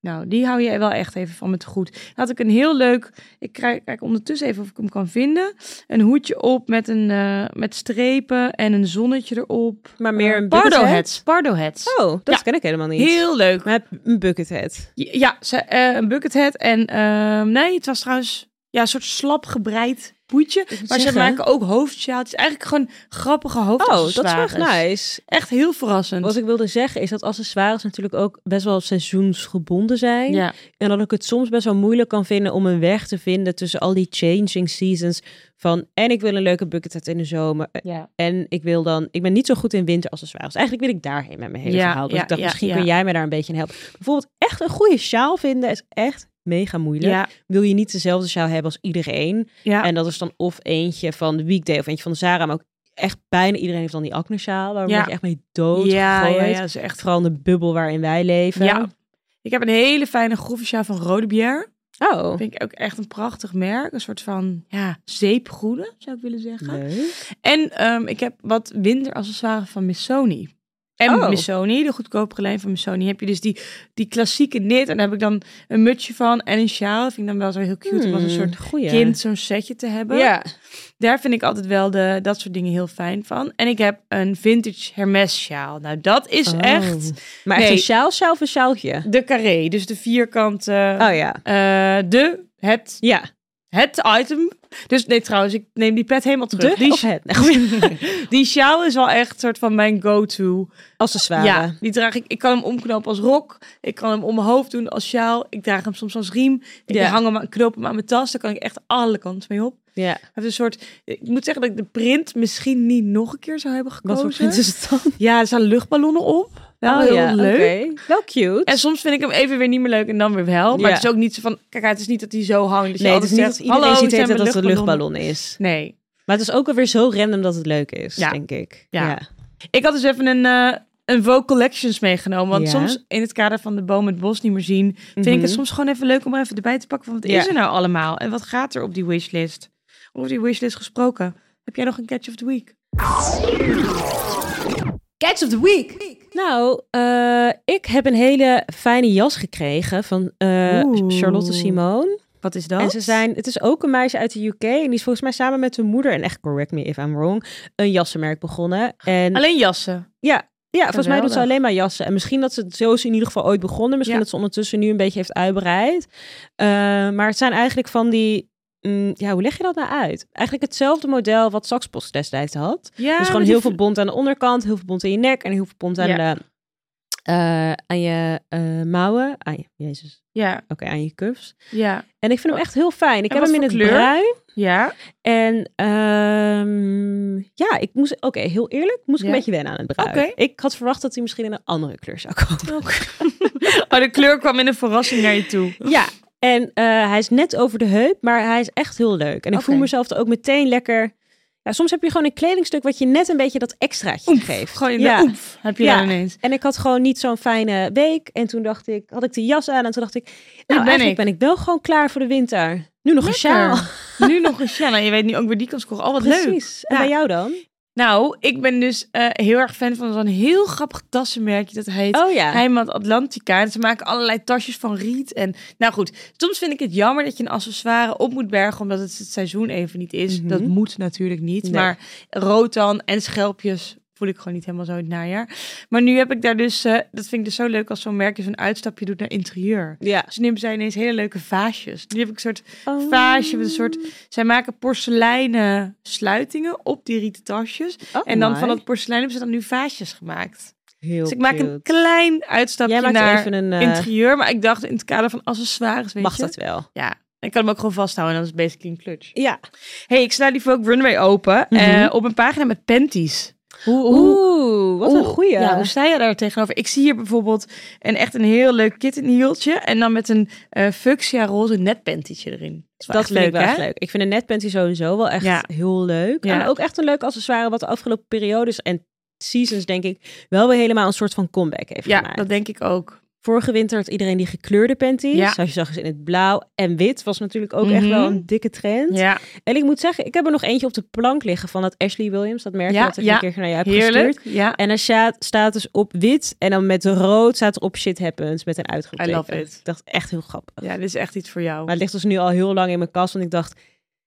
nou, die hou je wel echt even van met de goed. Had ik een heel leuk... Ik kijk, kijk ondertussen even of ik hem kan vinden. Een hoedje op met, een, eh, met strepen en een zonnetje erop. Eh, Maar meer een Pardo buckethead? hats. Pardo hats. Oh, dat Ja. ken ik helemaal niet. heel leuk. Maar heb een buckethead. Ja, ze, eh, een buckethead en ehm, nee, het was trouwens ja, een soort slap gebreid boetje. moet Maar ze zeggen. maken ook hoofdjaaltjes. Eigenlijk gewoon grappige Oh, hoofdaccessoires. dat is wel echt nice. Echt heel verrassend. Wat ik wilde zeggen is dat accessoires natuurlijk ook best wel seizoensgebonden zijn. ja. En dat ik het soms best wel moeilijk kan vinden om een weg te vinden tussen al die changing seasons. Van en ik wil een leuke buckethead in de zomer. Ja. En ik wil dan, ik ben niet zo goed in winteraccessoires. Eigenlijk wil ik daarheen met mijn hele Ja, verhaal. Dus ja, ik dacht, ja, misschien ja. kun jij me daar een beetje in helpen. Bijvoorbeeld echt een goede sjaal vinden is echt mega moeilijk. Ja. Wil je niet dezelfde sjaal hebben als iedereen. Ja. En dat is dan of eentje van de weekday of eentje van de Zara. Maar ook echt bijna iedereen heeft dan die acne sjaal. Daar Ja. word je echt mee dood ja, ja, gegooid. ja, is echt. Vooral in de bubbel waarin wij leven. Ja. Ik heb een hele fijne grove sjaal van Rode Bière. Oh, Vind ik ook echt een prachtig merk. Een soort van ja, zeepgroene, zou ik willen zeggen. leuk. En ehm, ik heb wat winteraccessoires van Missoni. En Oh. Missoni, de goedkopere lijn van Missoni, heb je dus die, die klassieke knit. En daar heb ik dan een mutsje van en een sjaal. Vind ik dan wel zo heel cute om als een Hmm, soort goeie. kind zo'n setje te hebben. Ja. Daar vind ik altijd wel de, dat soort dingen heel fijn van. En ik heb een vintage Hermes sjaal. Nou, dat is Oh. echt Maar echt Nee. een sjaal, sjaal of een sjaaltje? de carré. Dus de vierkante, Oh ja. eh, de, het, Ja. het item. Dus nee, trouwens, ik neem die pet helemaal terug. De Oh. die, of het? Nee, goed. die sjaal is wel echt soort van mijn go-to. Accessoire. Ja, die draag ik. Ik kan hem omknopen als rok. Ik kan hem om mijn hoofd doen als sjaal. Ik draag hem soms als riem. Ik Ja. hang hem aan, knoop hem aan mijn tas. Daar kan ik echt alle kanten mee op. Ja. Hij heeft een soort. Ik moet zeggen dat ik de print misschien niet nog een keer zou hebben Wat gekozen. voor print is het dan? Ja, er staan luchtballonnen op. Wel heel leuk. oké. Wel cute. En soms vind ik hem even weer niet meer leuk en dan weer wel. Maar Ja. het is ook niet zo van. Kijk, het is niet dat hij zo hangt. Dat je nee, het is altijd niet zegt, dat iedereen Hallo, ziet het het zijn dat het een mijn luchtballonnen." luchtballon is. Nee. Maar het is ook alweer zo random dat het leuk is, Ja. denk ik. Ja. Ik had dus even een, eh een Vogue Collections meegenomen. Want Ja. soms in het kader van de boom het bos niet meer zien... vind ik Mhm. het soms gewoon even leuk om er even erbij te pakken. Van wat Ja. is er nou allemaal? En wat gaat er op die wishlist? Over die wishlist gesproken. Heb jij nog een catch of the week? Catch of the week. Nou, eh, ik heb een hele fijne jas gekregen van eh, Oeh. Charlotte Simone. Wat is dat? En ze zijn, het is ook een meisje uit de UK. En die is volgens mij samen met hun moeder, en echt correct me if I'm wrong, een jassenmerk begonnen. En Alleen jassen. Ja, volgens mij doet ze Geweldig. alleen maar jassen. En misschien dat ze het zo is in ieder geval ooit begonnen. Misschien Ja. dat ze ondertussen nu een beetje heeft uitbreid. Eh, maar het zijn eigenlijk van die... mm, ja, hoe leg je dat nou uit? Eigenlijk hetzelfde model wat Saxpost destijds had. Ja, dus maar gewoon die heel veel v- bont aan de onderkant, heel veel bont in je nek... en heel veel bont aan, Ja. de, eh, aan je eh, mouwen. Aan je, jezus, Ja, oké, aan je cuffs. ja, En ik vind hem echt heel fijn. Ik Oh. En heb hem in wat het voor kleur? bruin. ja. En ehm, ja, ik moest, oké, heel eerlijk, moest ik Ja. een beetje wennen aan het bruin. Oké. Ik had verwacht dat hij misschien in een andere kleur zou komen. Oh, de kleur kwam in een verrassing naar je toe. Ja, en eh, hij is net over de heup, maar hij is echt heel leuk. En ik Oké. voel mezelf er ook meteen lekker... Ja, soms heb je gewoon een kledingstuk wat je net een beetje dat extraatje geeft. Gewoon in de ja. oef heb je Ja. daar ineens. En ik had gewoon niet zo'n fijne week. En toen dacht ik, had ik de jas aan en toen dacht ik... Nou, ben eigenlijk ik. ben ik wel gewoon klaar voor de winter. Nu nog een sjaal. Lekker. Nu nog een sjaal. Nou, je weet nu ook weer die kan scoren. Oh, wat leuk. Precies. En Ja. bij jou dan? Nou, ik ben dus eh, heel erg fan van zo'n heel grappig tassenmerkje. Dat heet Oh ja. Heimat Atlantica. En ze maken allerlei tasjes van riet. En nou goed, soms vind ik het jammer dat je een accessoire op moet bergen. Omdat het het seizoen even niet is. Mhm. Dat moet natuurlijk niet. Nee. Maar rotan en schelpjes voel ik gewoon niet helemaal zo in het najaar. Maar nu heb ik daar dus... eh, dat vind ik dus zo leuk als zo'n merkje zo'n uitstapje doet naar interieur. Ja. Ze nemen zij ineens hele leuke vaasjes. Nu heb ik een soort Oh. vaasje met een soort... Zij maken porseleinen sluitingen op die rieten tasjes. Oh, En dan van mooi. dat porselein hebben ze dan nu vaasjes gemaakt. Heel dus ik maak cute. een klein uitstapje Jij maakt naar even een... eh, interieur. Maar ik dacht in het kader van accessoires, weet mag je. dat wel? Ja, ik kan hem ook gewoon vasthouden en dan is het basically een clutch. Ja. hey, ik sla die Vogue Runway open Mhm. eh, op een pagina met panties. Hoe, Oeh, wat een Oeh, goeie. Ja, hoe sta je daar tegenover? Ik zie hier bijvoorbeeld een echt een heel leuk kittenhieltje en dan met een eh fuchsia roze netpantietje erin. is dat wel echt vind ik wel hè? echt leuk. Ik vind een netpanty sowieso wel echt Ja. heel leuk. Ja. En ook echt een leuk accessoire wat de afgelopen periodes en seasons, denk ik, wel weer helemaal een soort van comeback heeft Ja, gemaakt. dat denk ik ook. Vorige winter had iedereen die gekleurde panties. Ja. Zoals je zag is in het blauw en wit. Was natuurlijk ook echt Mhm. wel een dikke trend. Ja, En ik moet zeggen, ik heb er nog eentje op de plank liggen van dat Ashley Williams. Dat merk je Ja, dat ik ja. een keer naar jou heb gestuurd. heerlijk. Ja, En er staat, staat dus op wit en dan met rood staat op shit happens met een uitroepteken. I love it. Ik dacht echt heel grappig. ja, dit is echt iets voor jou. Maar het ligt dus nu al heel lang in mijn kast. Want ik dacht,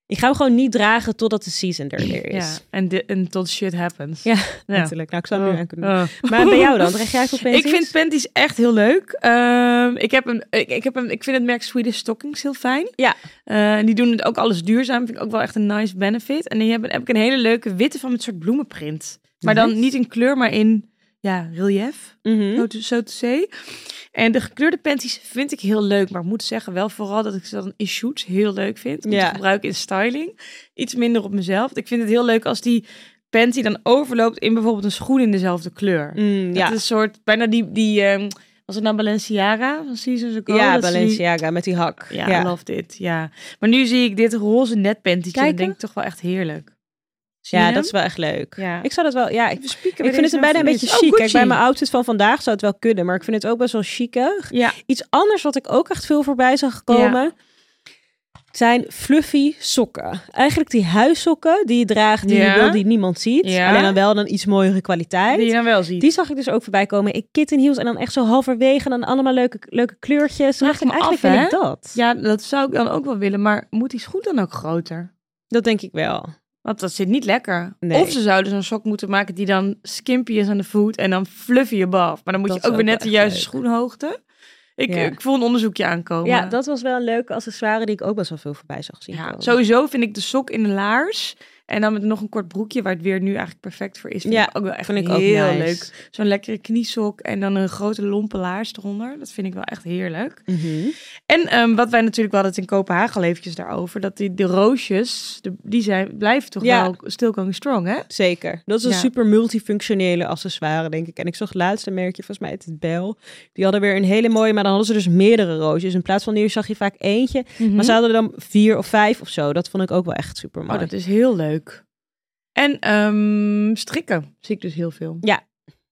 ik ga hem gewoon niet dragen totdat de season er weer Ja, is. en, di- en tot shit happens. Ja, ja. Natuurlijk. Nou, ik zou hem nu aan kunnen doen. Oh. Maar bij jou dan? Draag jij veel panties? Ik vind panties echt heel leuk. Ehm, ik, heb een, ik, ik heb een, ik vind het merk Swedish Stockings heel fijn. Ja. Eh, en die doen het ook alles duurzaam. Vind ik ook wel echt een nice benefit. En die hebben, heb ik een hele leuke witte van met soort bloemenprint. Maar dan Nice. niet in kleur, maar in ja, relief. Mhm. zo te- Zo te say. En de gekleurde panties vind ik heel leuk. Maar ik moet zeggen wel vooral dat ik ze dan in shoots heel leuk vind. Om Ja. te gebruiken in styling. Iets minder op mezelf. Ik vind het heel leuk als die panty dan overloopt in bijvoorbeeld een schoen in dezelfde kleur. Mm, Ja. Het ja. is een soort, bijna die, die ehm, was het nou Balenciaga van Seasons Ago? ja, Dat ze die- Balenciaga met die hak. Ja, I love dit, ja. Maar nu zie ik dit roze netpantietje en Kijken? denk ik toch wel echt heerlijk. Zie Ja, je dat is hem? wel echt leuk. Ja. Ik zou dat wel... Ja, ik, We spieken ik bij vind het deze een bijna een van beetje deze- chic. Oh, Kijk, bij Gucci. mijn outfit van vandaag zou het wel kunnen. Maar ik vind het ook best wel chiquig. Ja, Iets anders wat ik ook echt veel voorbij zag komen. zijn fluffy sokken. Eigenlijk die huissokken die je draagt, die, je Ja. wil, die niemand ziet. Ja. Alleen dan wel dan iets mooiere kwaliteit. Die je dan wel ziet. Die zag ik dus ook voorbij komen. Ik kit in heels en dan echt zo halverwege en dan allemaal leuke, leuke kleurtjes. Dan Vraag dacht ik, me af, eigenlijk wil ik hè? dat. Ja, dat zou ik dan ook wel willen, maar moet die schoen dan ook groter? Dat denk ik wel. Want dat zit niet lekker. Nee. Of ze zouden zo'n sok moeten maken die dan skimpy is aan de voet en dan fluffy above. Maar dan moet Dat je is ook weer ook net de wel echt juiste leuk. schoenhoogte. Ik, Ja. ik voel een onderzoekje aankomen. Ja, dat was wel een leuke accessoire die ik ook best wel veel voorbij zag zien. Oh, Ja, komen. sowieso vind ik de sok in de laars en dan met nog een kort broekje waar het weer nu eigenlijk perfect voor is. Vind Ja, ik ook wel echt vind ik ook heel nice. leuk. Zo'n lekkere kniesok en dan een grote lompe laars eronder. Dat vind ik wel echt heerlijk. Mhm. En ehm, wat wij natuurlijk wel hadden het in Kopenhagen al eventjes daarover, dat die de roosjes, de, die zijn blijven toch Ja. wel still going strong, hè? Zeker. Dat is een Ja. super multifunctionele accessoire, denk ik. En ik zag het laatste merkje, volgens mij het Bel. Die hadden weer een hele mooie, maar dan hadden ze dus meerdere roosjes. In plaats van nu zag je vaak eentje, maar ze hadden er dan vier of vijf of zo. Dat vond ik ook wel echt super mooi. Oh, dat is heel leuk. En ehm, strikken zie ik dus heel veel. Ja.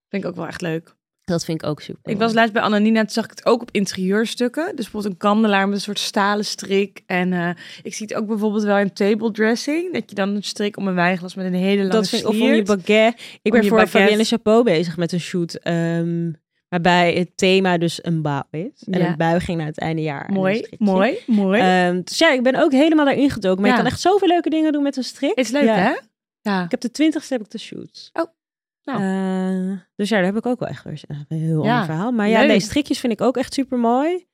Vind ik ook wel echt leuk. vind ik ook super. Ik was laatst bij Ananina, toen zag ik het ook op interieurstukken. Dus bijvoorbeeld een kandelaar met een soort stalen strik. En eh, ik zie het ook bijvoorbeeld wel in table dressing. Dat je dan een strik om een wijnglas met een hele lange dat vind ik, of om je sliert. baguette. Ik ben je voor baguette. Fabienne Chapeau bezig met een shoot. ehm, waarbij het thema dus een bouw is. En Ja. een buiging naar het einde jaar. en een Mooi, strikje. mooi, mooi. Ehm, dus ja, ik ben ook helemaal daarin gedoken. Maar je Ja. kan echt zoveel leuke dingen doen met een strik. is leuk, Ja. hè? Ja. Ik heb de twintigste heb ik de shoot. Oh, nou. Eh, dus ja, daar heb ik ook wel echt weer een heel Ja, ander verhaal. Maar ja, leuk. nee, strikjes vind ik ook echt super mooi.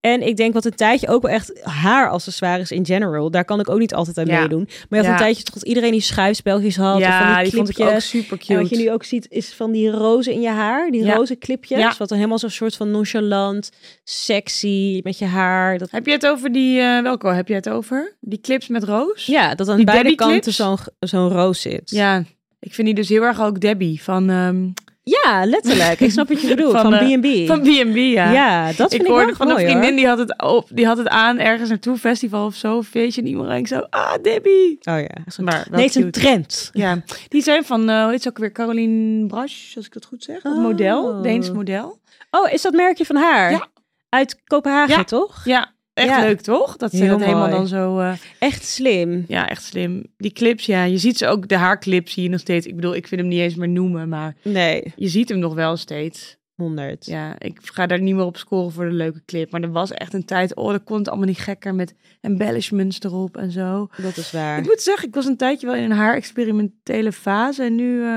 En ik denk wat een tijdje ook wel echt haar accessoires in general. Daar kan ik ook niet altijd aan Ja. meedoen. Maar ja, Ja. een tijdje toch dat iedereen die schuifspeltjes had. of van Ja, die, die vond ik ook clipjes. super En wat je cute. nu ook ziet is van die rozen in je haar. Die Ja. roze clipjes. Ja. Wat dan helemaal zo'n soort van nonchalant, sexy met je haar. Dat, Heb je het over die, eh welke heb je het over? Die clips met roos? ja, dat aan Die beide Debbie kanten clips? zo'n zo'n roos zit. Ja. Ik vind die dus heel erg ook Debbie van ehm, Ja, letterlijk. Ik snap wat je bedoelt. Van, Van eh, B&B. van B&B, ja. ja. dat vind ik ik, hoorde wel van mooi, een hoor. vriendin, die had, het op, die had het aan ergens naartoe, festival of zo, feestje. En iemand ging zo, ah, Debbie. Oh ja. Zo'n- Maar wel nee, het is een cute. trend. Ja, die zijn van, eh hoe heet ze ook weer, Caroline Brasch, als ik dat goed zeg. Of Oh. model, Deens model. Oh, is dat merkje van haar? Ja. Uit Kopenhagen, Ja. toch? Ja, echt Ja. leuk toch? Dat ze Heel dat helemaal mooi. dan zo, eh, Echt slim. ja, echt slim. Die clips, ja, je ziet ze ook, de haarclip zie je nog steeds. Ik bedoel, ik vind hem niet eens meer noemen, maar Nee, je ziet hem nog wel steeds. 100. Ja, ik ga daar niet meer op scoren voor de leuke clip. Maar er was echt een tijd, oh, dat kon het allemaal niet gekker met embellishments erop en zo. Dat is waar. Ik moet zeggen, ik was een tijdje wel in een haar-experimentele fase. En nu eh,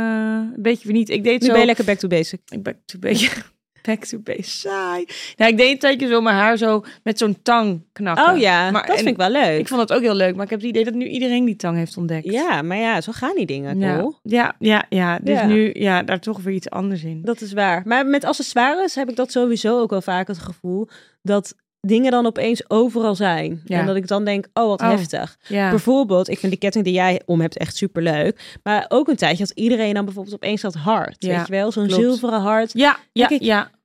een beetje weer niet. Ik deed Nu zo... ben je lekker back to basic. Ik ben een beetje... Back to base, saai. Nou, ik deed een tijdje zo mijn haar zo met zo'n tang knakken. Oh ja, Maar- dat en vind ik wel leuk. Ik vond dat ook heel leuk. Maar ik heb het idee dat nu iedereen die tang heeft ontdekt. Ja, maar ja, zo gaan die dingen, Ja, Cole. Nou, ja, ja, ja. Dus Ja. nu, ja, daar toch weer iets anders in. Dat is waar. Maar met accessoires heb ik dat sowieso ook wel vaak het gevoel dat dingen dan opeens overal zijn. Ja. En dat ik dan denk, oh wat Oh. heftig. Ja. Bijvoorbeeld, ik vind die ketting die jij om hebt echt super leuk. Maar ook een tijdje had iedereen dan bijvoorbeeld opeens dat hart. Ja, Weet je wel, zo'n klopt. zilveren hart. Ja, ja, Denk ik- ja.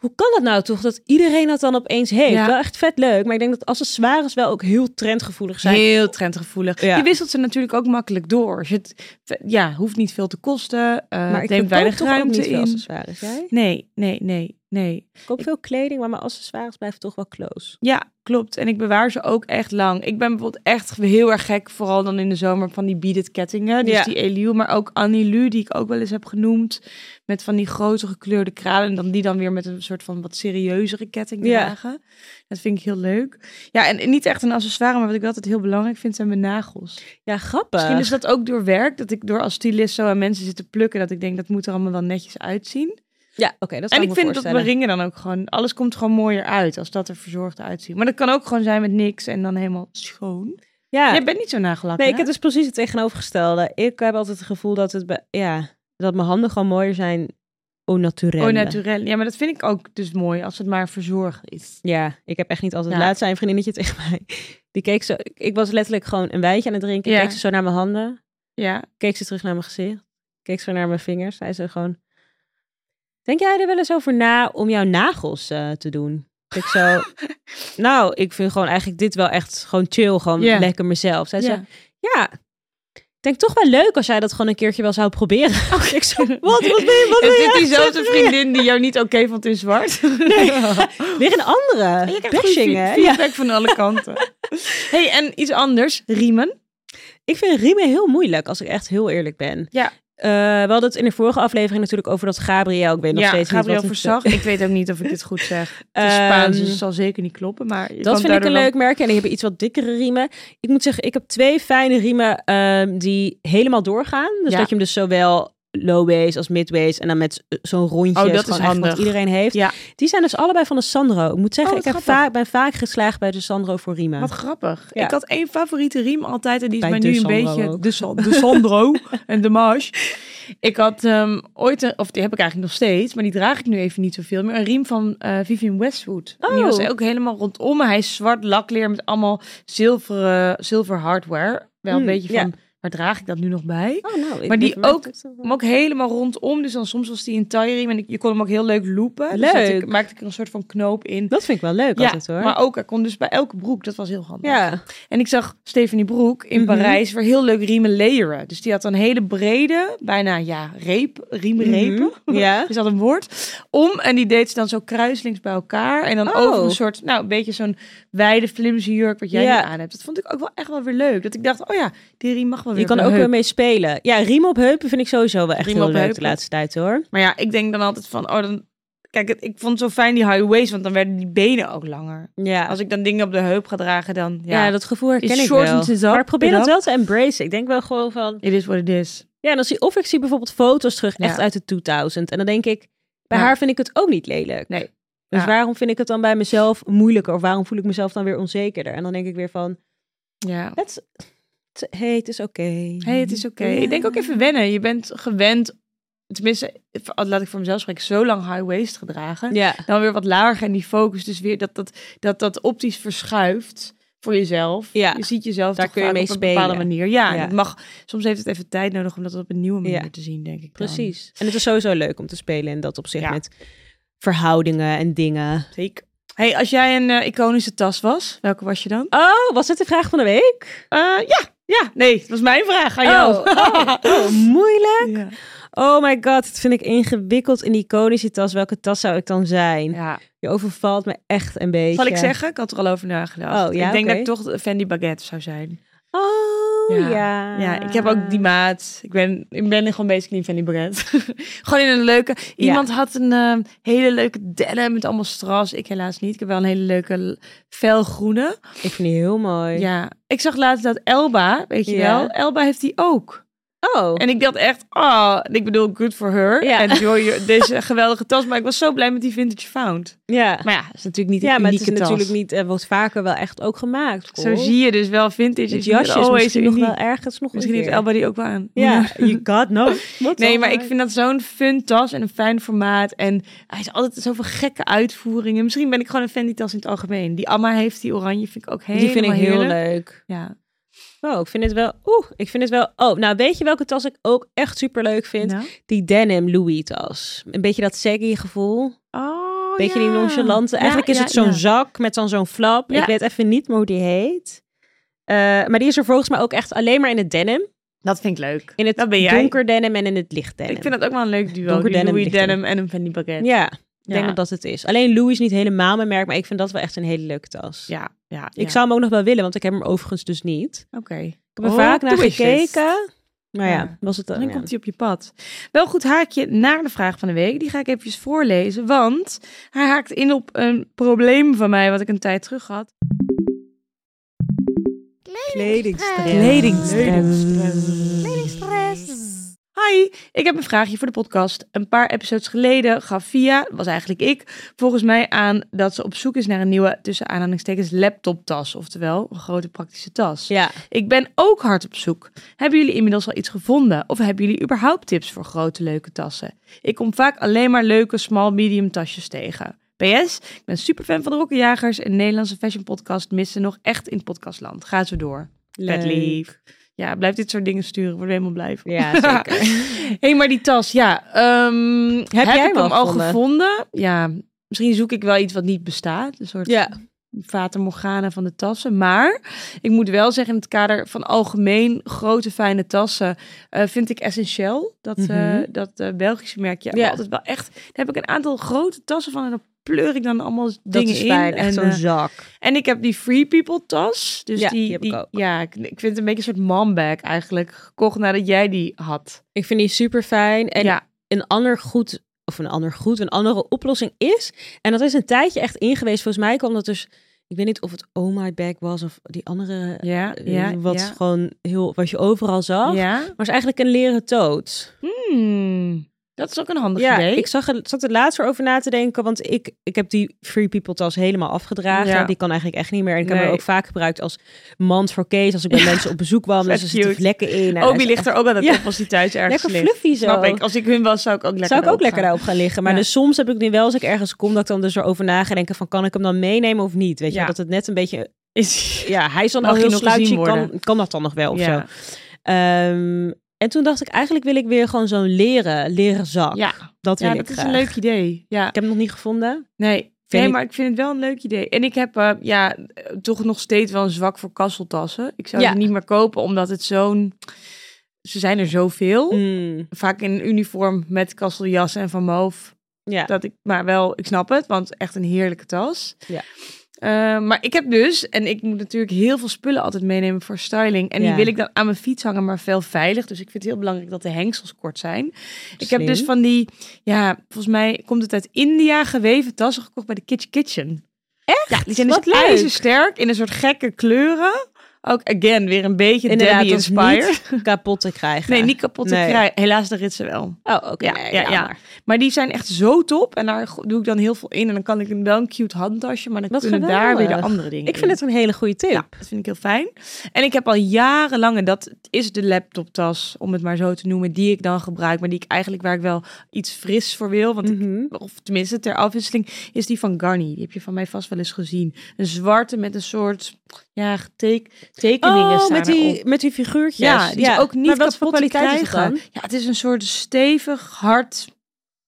Hoe kan dat nou toch dat iedereen dat dan opeens heeft? Ja. Wel echt vet leuk. Maar ik denk dat accessoires wel ook heel trendgevoelig zijn. Heel trendgevoelig. Ja. Je wisselt ze natuurlijk ook makkelijk door. Dus het ja, hoeft niet veel te kosten. eh maar ik verkoop neemt weinig toch ook ruimte niet veel in. accessoires. Jij? Nee, nee, nee, nee. Ik koop veel kleding, maar mijn accessoires blijven toch wel close. Ja, klopt. En ik bewaar ze ook echt lang. Ik ben bijvoorbeeld echt heel erg gek, vooral dan in de zomer, van die beaded kettingen. Dus Ja. die Eliu, maar ook Annilu, die ik ook wel eens heb genoemd. Met van die grote gekleurde kralen. En dan die dan weer met een soort van wat serieuzere ketting Ja. dragen. Dat vind ik heel leuk. Ja, en en niet echt een accessoire, maar wat ik altijd heel belangrijk vind, zijn mijn nagels. Ja, grappig. Misschien is dat ook door werk, dat ik door als stylist zo aan mensen zit te plukken, dat ik denk dat moet er allemaal wel netjes uitzien. Ja, oké, dat en kan ik me vind dat mijn voorstellen. ringen dan ook gewoon, alles komt gewoon mooier uit als dat er verzorgd uitziet. Maar dat kan ook gewoon zijn met niks en dan helemaal schoon. Ja, Jij bent niet zo nagelakt. Nee, hè? ik heb dus precies het tegenovergestelde. Ik heb altijd het gevoel dat, het be- ja, dat mijn handen gewoon mooier zijn au naturel. Oh, naturel. Ja, maar dat vind ik ook dus mooi als het maar verzorgd is. Ja, ik heb echt niet altijd... Ja. Laatst zijn een vriendinnetje tegen mij. Die keek zo... Ik was letterlijk gewoon een wijntje aan het drinken. Ja. Keek ze zo naar mijn handen. Ja. Keek ze terug naar mijn gezicht. Keek zo naar mijn vingers. Zei ze gewoon... Denk jij er wel eens over na om jouw nagels eh, te doen? Ik zo... nou, ik vind gewoon eigenlijk dit wel echt gewoon chill. Gewoon Ja. lekker mezelf. Zij zei, ja. Ja. Ik denk toch wel leuk als jij dat gewoon een keertje wel zou proberen. ik zo, wat, wat ben je, wat Is ben dit je diezelfde aan het vriendin die jou niet oké vond in zwart? zeggen? Weer een andere. Je krijgt goede Bashing, hè? feed- Ja. feedback van alle kanten. hey, en iets anders. Riemen. Ik vind riemen heel moeilijk, als ik echt heel eerlijk ben. Ja. Eh, we hadden het in de vorige aflevering natuurlijk over dat Gabriel, ik weet nog ja, steeds niet Gabriel wat Ehm, Verzag. Ik weet ook niet of ik dit goed zeg. Het is Spaans, dus het zal zeker niet kloppen. Maar je kan Dat vind ik daardoor een wel- leuk merk. En die hebben iets wat dikkere riemen. Ik moet zeggen, ik heb twee fijne riemen ehm, die helemaal doorgaan. Dus Ja. dat je hem dus zowel low-waist als mid-waist en dan met z- zo'n rondje. is Oh, dat is gewoon echt handig. Wat iedereen heeft. Ja. Die zijn dus allebei van de Sandro. Ik moet zeggen, Oh, ik wat heb grappig. vaak, ben vaak geslaagd bij de Sandro voor riemen. Wat grappig. Ja. Ik had één favoriete riem altijd en die is Bij mij de nu een Sandro beetje ook. de, Sa- de Sandro en de Marsh. Ik had ehm, ooit, een, of die heb ik eigenlijk nog steeds, maar die draag ik nu even niet zoveel meer. Een riem van eh Vivian Westwood. En Die Oh. was ook helemaal rondom. me. Hij is zwart lakleer met allemaal zilveren, zilver hardware. Wel een Mm, beetje ja. van, waar draag ik dat nu nog bij? Oh, nou, ik Maar die ben verwend. ook- Hem ook helemaal rondom, dus dan soms was die in tailleriem en ik, je kon hem ook heel leuk loopen. Dus dat Leuk. ik, maakte ik er een soort van knoop in. Dat vind ik wel leuk Ja, altijd hoor. maar ook, hij kon dus bij elke broek, dat was heel handig. Ja. En ik zag Stephanie Broek in Mhm. Parijs weer heel leuk riemen layeren. Dus die had een hele brede, bijna ja, reep, riemrepen. Mhm. Ja. Is dat een woord? Om en die deed ze dan zo kruislings bij elkaar. En dan Oh. over een soort, nou, een beetje zo'n wijde flimsy jurk wat jij Ja. nu aan hebt. Dat vond ik ook wel echt wel weer leuk. Dat ik dacht, oh ja, die riem mag wel weer. Je kan op ook mijn weer heup. mee spelen. Ja, riem op heupen vind ik sowieso wel echt Riem heel op leuk de heupen. laatste tijd hoor. Maar ja, ik denk dan altijd van, oh dan. Kijk, het- ik vond het zo fijn die high waist, want dan werden die benen ook langer. Ja. Als ik dan dingen op de heup ga dragen, dan ja. Ja, dat gevoel herken ik short wel. and it's up, maar ik probeer it dat up. wel te embracen. Ik denk wel gewoon van... It is what it is. Ja, en dan zie, of ik zie bijvoorbeeld foto's terug Ja. echt uit de 2000. En dan denk ik, bij Ja. haar vind ik het ook niet lelijk. Nee. Dus Ja. waarom vind ik het dan bij mezelf moeilijker? Of waarom voel ik mezelf dan weer onzekerder? En dan denk ik weer van, Ja. het, is- het- hey, het is oké. Hé, hey, het is oké. Ja. Ik denk ook even wennen. Je bent gewend, tenminste, laat ik voor mezelf spreken, zo lang high waist gedragen. Ja, Dan weer wat lager en die focus, dus weer dat dat, dat, dat optisch verschuift voor jezelf. Ja. Je ziet jezelf Daar toch kun je vaak mee op een bepaalde spelen. manier. Ja, Ja. Het mag, soms heeft het even tijd nodig om dat op een nieuwe manier Ja. te zien, denk ik. dan. precies. En het is sowieso leuk om te spelen in dat opzicht Ja. met verhoudingen en dingen. Zeker. hey, als jij een eh, iconische tas was, welke was je dan? Oh, was dit de vraag van de week? Eh, ja, ja, nee, dat was mijn vraag aan jou. Oh, Oh, moeilijk. ja. Oh my god, dat vind ik ingewikkeld. Een iconische tas, welke tas zou ik dan zijn? ja. Je overvalt me echt een beetje. Zal ik zeggen? Ik had er al over nagedacht. Oh, ja, ik denk oké. dat ik toch Fendi Baguette zou zijn. Oh ja. Ja. Ja, ik heb ook Ah. die maat. Ik ben, ik ben gewoon basically een Fanny Barrett. gewoon in een leuke... Iemand had een eh, hele leuke denim met allemaal strass. Ik helaas niet. Ik heb wel een hele leuke l- felgroene. Ik vind die heel mooi. Ja. Ik zag laatst dat Elba, weet je Ja. wel, Elba heeft die ook. Oh. En ik dacht echt, ah, ik bedoel, good for her. Ja. En enjoy your- deze geweldige tas. Maar ik was zo blij met die vintage found. ja. Maar ja, het is natuurlijk niet een Ja, maar het is unieke tas. natuurlijk niet, eh, wordt vaker wel echt ook gemaakt. Zo zie je dus wel vintage. het is niet jasje is always misschien nog uniek. wel ergens nog Misschien een heeft keer. Elba die ook wel aan. Ja, you god no. Nee, maar ik vind dat zo'n fun tas en een fijn formaat. En hij is altijd zoveel gekke uitvoeringen. Misschien ben ik gewoon een fan die tas in het algemeen. Die Amma heeft, die oranje, vind ik ook helemaal Die vind ik heel heerlijk. leuk. Ja. Oh, ik vind het wel... Oeh, ik vind het wel... Oh, nou weet je welke tas ik ook echt super leuk vind? Nou. Die denim Louis tas. Een beetje dat saggy gevoel. Oh, Beetje ja. die nonchalante. Ja, Eigenlijk is ja, het zo'n ja. zak met dan zo'n flap. Ja. Ik weet even niet meer hoe die heet. Eh, maar die is er volgens mij ook echt alleen maar in het denim. Dat vind ik leuk. In het Dat ben jij. donker denim en in het licht denim. Ik vind dat ook wel een leuk duo. Donker die denim, Louis licht denim. Denim en een Fendi Baguette. Ja, ik denk Ja. dat dat het is. Alleen Louis is niet helemaal mijn merk, maar ik vind dat wel echt een hele leuke tas. Ja, ja, Ik ja. zou hem ook nog wel willen, want ik heb hem overigens dus niet. Ik Oké. heb er Oh, vaak naar doe eens dit. gekeken. Maar ja, Ja. was het dan? Dan ja. komt hij op je pad. Wel goed haakje naar de vraag van de week. Die ga ik eventjes voorlezen, want hij haakt in op een probleem van mij wat ik een tijd terug had. Kledingstress. Hi, ik heb een vraagje voor de podcast. Een paar episodes geleden gaf Via, was eigenlijk ik, volgens mij aan dat ze op zoek is naar een nieuwe, tussen aanhalingstekens, laptoptas. Oftewel, een grote praktische tas. Ja. Ik ben ook hard op zoek. Hebben jullie inmiddels al iets gevonden? Of hebben jullie überhaupt tips voor grote leuke tassen? Ik kom vaak alleen maar leuke small medium tasjes tegen. PS, ik ben superfan van de Rokkenjagers. Een Nederlandse fashion podcast missen nog echt in podcastland. Ga zo door. Vet Leuk. lief. Ja, blijf dit soort dingen sturen. Word er helemaal blij van. Ja, zeker. Hé, hey, maar die tas, ja. ehm, heb jij ik hem al hem al gevonden? gevonden? Ja, misschien zoek ik wel iets wat niet bestaat. Een soort ja. Vater Morgana van de tassen. Maar ik moet wel zeggen, in het kader van algemeen grote fijne tassen, eh, vind ik essentieel dat, eh, Mhm. dat eh, Belgische merkje. Ja. Altijd wel echt. Daar heb ik een aantal grote tassen van in een pleur ik dan allemaal Dat dingen is fijn, in. echt en, zo'n eh, zak. en ik heb die Free People tas. Dus Ja, die, die heb ik ook. Ja, ik, ik vind het een beetje een soort manbag eigenlijk. Gekocht nadat jij die had. Ik vind die super fijn. En ja, een ander goed, of een ander goed, een andere oplossing is. En dat is een tijdje echt ingeweest. Volgens mij kwam dat dus. Ik weet niet of het Oh My Bag was of die andere. ja, eh, ja. wat ja. gewoon heel. wat je overal zag. Ja. Maar is eigenlijk een leren toot. Hmm, dat is ook een handig ja, idee. ik zag het, zat er laatst weer over na te denken. Want ik, ik heb die Free People tas helemaal afgedragen. Ja. Die kan eigenlijk echt niet meer. En ik heb Nee. hem ook vaak gebruikt als mand voor Kees. Als ik bij mensen op bezoek kwam. vet Dus er zitten cute. vlekken in. en Oh, hij die is ligt er ook aan de Ja. top als die thuis ergens Lekker ligt. fluffy zo. Snap ik. Als ik hun was, zou ik ook lekker Zou ik ook erop lekker gaan. daarop gaan liggen. Maar Ja. dus soms heb ik nu wel als ik ergens kom dat ik dan dus erover na ga denken van kan ik hem dan meenemen of niet? Weet je, Ja. wel, dat het net een beetje, Is... ja, hij is dan Mag al je heel nog gezien slouchy, worden? kan, kan dat dan nog wel of zo? Ja. Ehm, en toen dacht ik eigenlijk wil ik weer gewoon zo'n leren, leren zak. Ja, Dat wil ja ik dat is graag. een leuk idee. Ja. Ik heb hem nog niet gevonden. Nee, nee ik- maar ik vind het wel een leuk idee. En ik heb eh, ja, eh, toch nog steeds wel een zwak voor kasseltassen. Ik zou Ja. die niet meer kopen, omdat het zo'n... Ze zijn er zoveel. Mm, Vaak in een uniform met kasseljassen en van moof. ja. Dat ik, maar wel, ik snap het, want echt een heerlijke tas. Ja. Eh, maar ik heb dus, en ik moet natuurlijk heel veel spullen altijd meenemen voor styling. En die Ja. wil ik dan aan mijn fiets hangen, maar veel veilig. Dus ik vind het heel belangrijk dat de hengsels kort zijn. Ik heb Slim. dus van die, ja, volgens mij komt het uit India geweven tassen gekocht bij de Kitchen Kitchen. Echt? Ja, die zijn dus Wat leuk. ijzersterk in een soort gekke kleuren. Ook, again, weer een beetje Inderdaad, Debbie dat is inspired. niet kapot te krijgen. Nee, niet kapot te Nee. krijgen. Helaas, de ritsen wel. Oh, oké. Ja, nee, ja, ja. jammer. Maar die zijn echt zo top. En daar go- doe ik dan heel veel in. En dan kan ik wel een cute handtasje. Maar dan Wat kunnen daar weer de geweldig. andere dingen Ik vind in. het een hele goede tip. Ja, dat vind ik heel fijn. En ik heb al jarenlang, en dat is de laptoptas, om het maar zo te noemen, die ik dan gebruik. Maar die ik eigenlijk, waar ik wel iets fris voor wil. Want ik- Mhm. of tenminste ter afwisseling, is die van Garni. Die heb je van mij vast wel eens gezien. Een zwarte met een soort, ja, getek- tekeningen Oh, staan met erop. die, met die figuurtjes. Ja, die is ook niet maar wat voor kapot te kwaliteit is het krijgen. dan? Ja, het is een soort stevig, hard.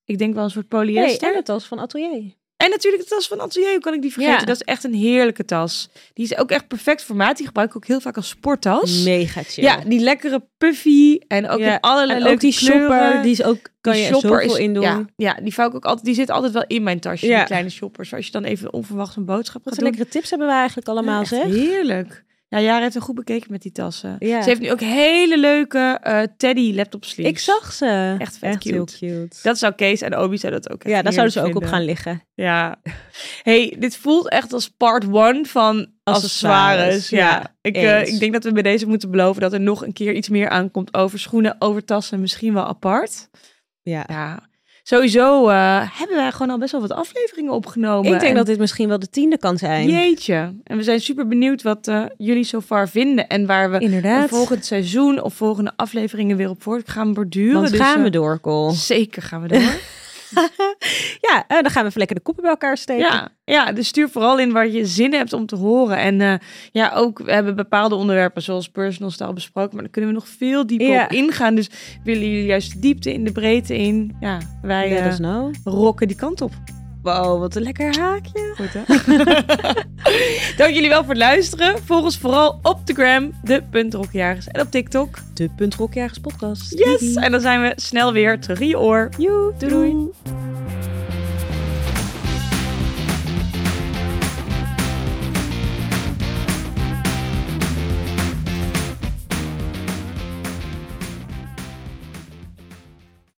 Ik denk wel een soort Nee, polyester. en het tas van Atelier. en natuurlijk de tas van Atelier. Hoe kan ik die vergeten? Ja. Dat is echt een heerlijke tas. Die is ook echt perfect formaat. Die gebruik ik ook heel vaak als sporttas. Mega chill. Ja, die lekkere puffy. En ook Ja, in allerlei En leuke ook die kleuren. shopper, die is ook, kan Die je shopper zoveel is- in doen. Ja, ja, die vouw ik ook altijd. Die zit altijd wel in mijn tasje. Ja. Die kleine shoppers. Als je dan even onverwacht een Wat boodschap gaat een doen. lekkere tips hebben we eigenlijk allemaal, Ja, echt zeg. Heerlijk. Ja, Jaren heeft een goed bekeken met die tassen. Ja. Ze heeft nu ook hele leuke eh, teddy laptop sleeves. Ik zag ze. Echt vet heel cute. cute. Dat zou Kees en Obi zou dat ook echt ja, daar zouden heerlijk ze ook op vinden. gaan liggen. Ja. Hey, dit voelt echt als part one van accessoires. Accessoires, Ja. ja, ik, eh, eens. ik denk dat we bij deze moeten beloven dat er nog een keer iets meer aankomt over schoenen, over tassen, misschien wel apart. Ja. Ja. Sowieso eh, hebben wij gewoon al best wel wat afleveringen opgenomen. Ik denk En- dat dit misschien wel de tiende kan zijn. Jeetje. En we zijn super benieuwd wat eh, jullie zo far vinden en waar we Inderdaad. volgend seizoen of volgende afleveringen weer op voort gaan borduren. Want Dus, gaan eh, we door, Col. Zeker gaan we door. Ja, eh, dan gaan we even lekker de koppen bij elkaar steken. Ja, ja, dus stuur vooral in waar je zin hebt om te horen. En eh, ja, ook we hebben bepaalde onderwerpen zoals personal style besproken, maar daar kunnen we nog veel dieper Ja. op ingaan. Dus willen jullie juist de diepte in, de breedte in? Ja, wij Let eh, us know. rocken die kant op. Wow, wat een lekker haakje. Goed, hè? Dank jullie wel voor het luisteren. Volg ons vooral op de gram, de puntrokjagers en op TikTok. De Punt Rockjagers podcast. Yes! Doei. En dan zijn we snel weer terug in je oor. Joe, doei. doei. doei.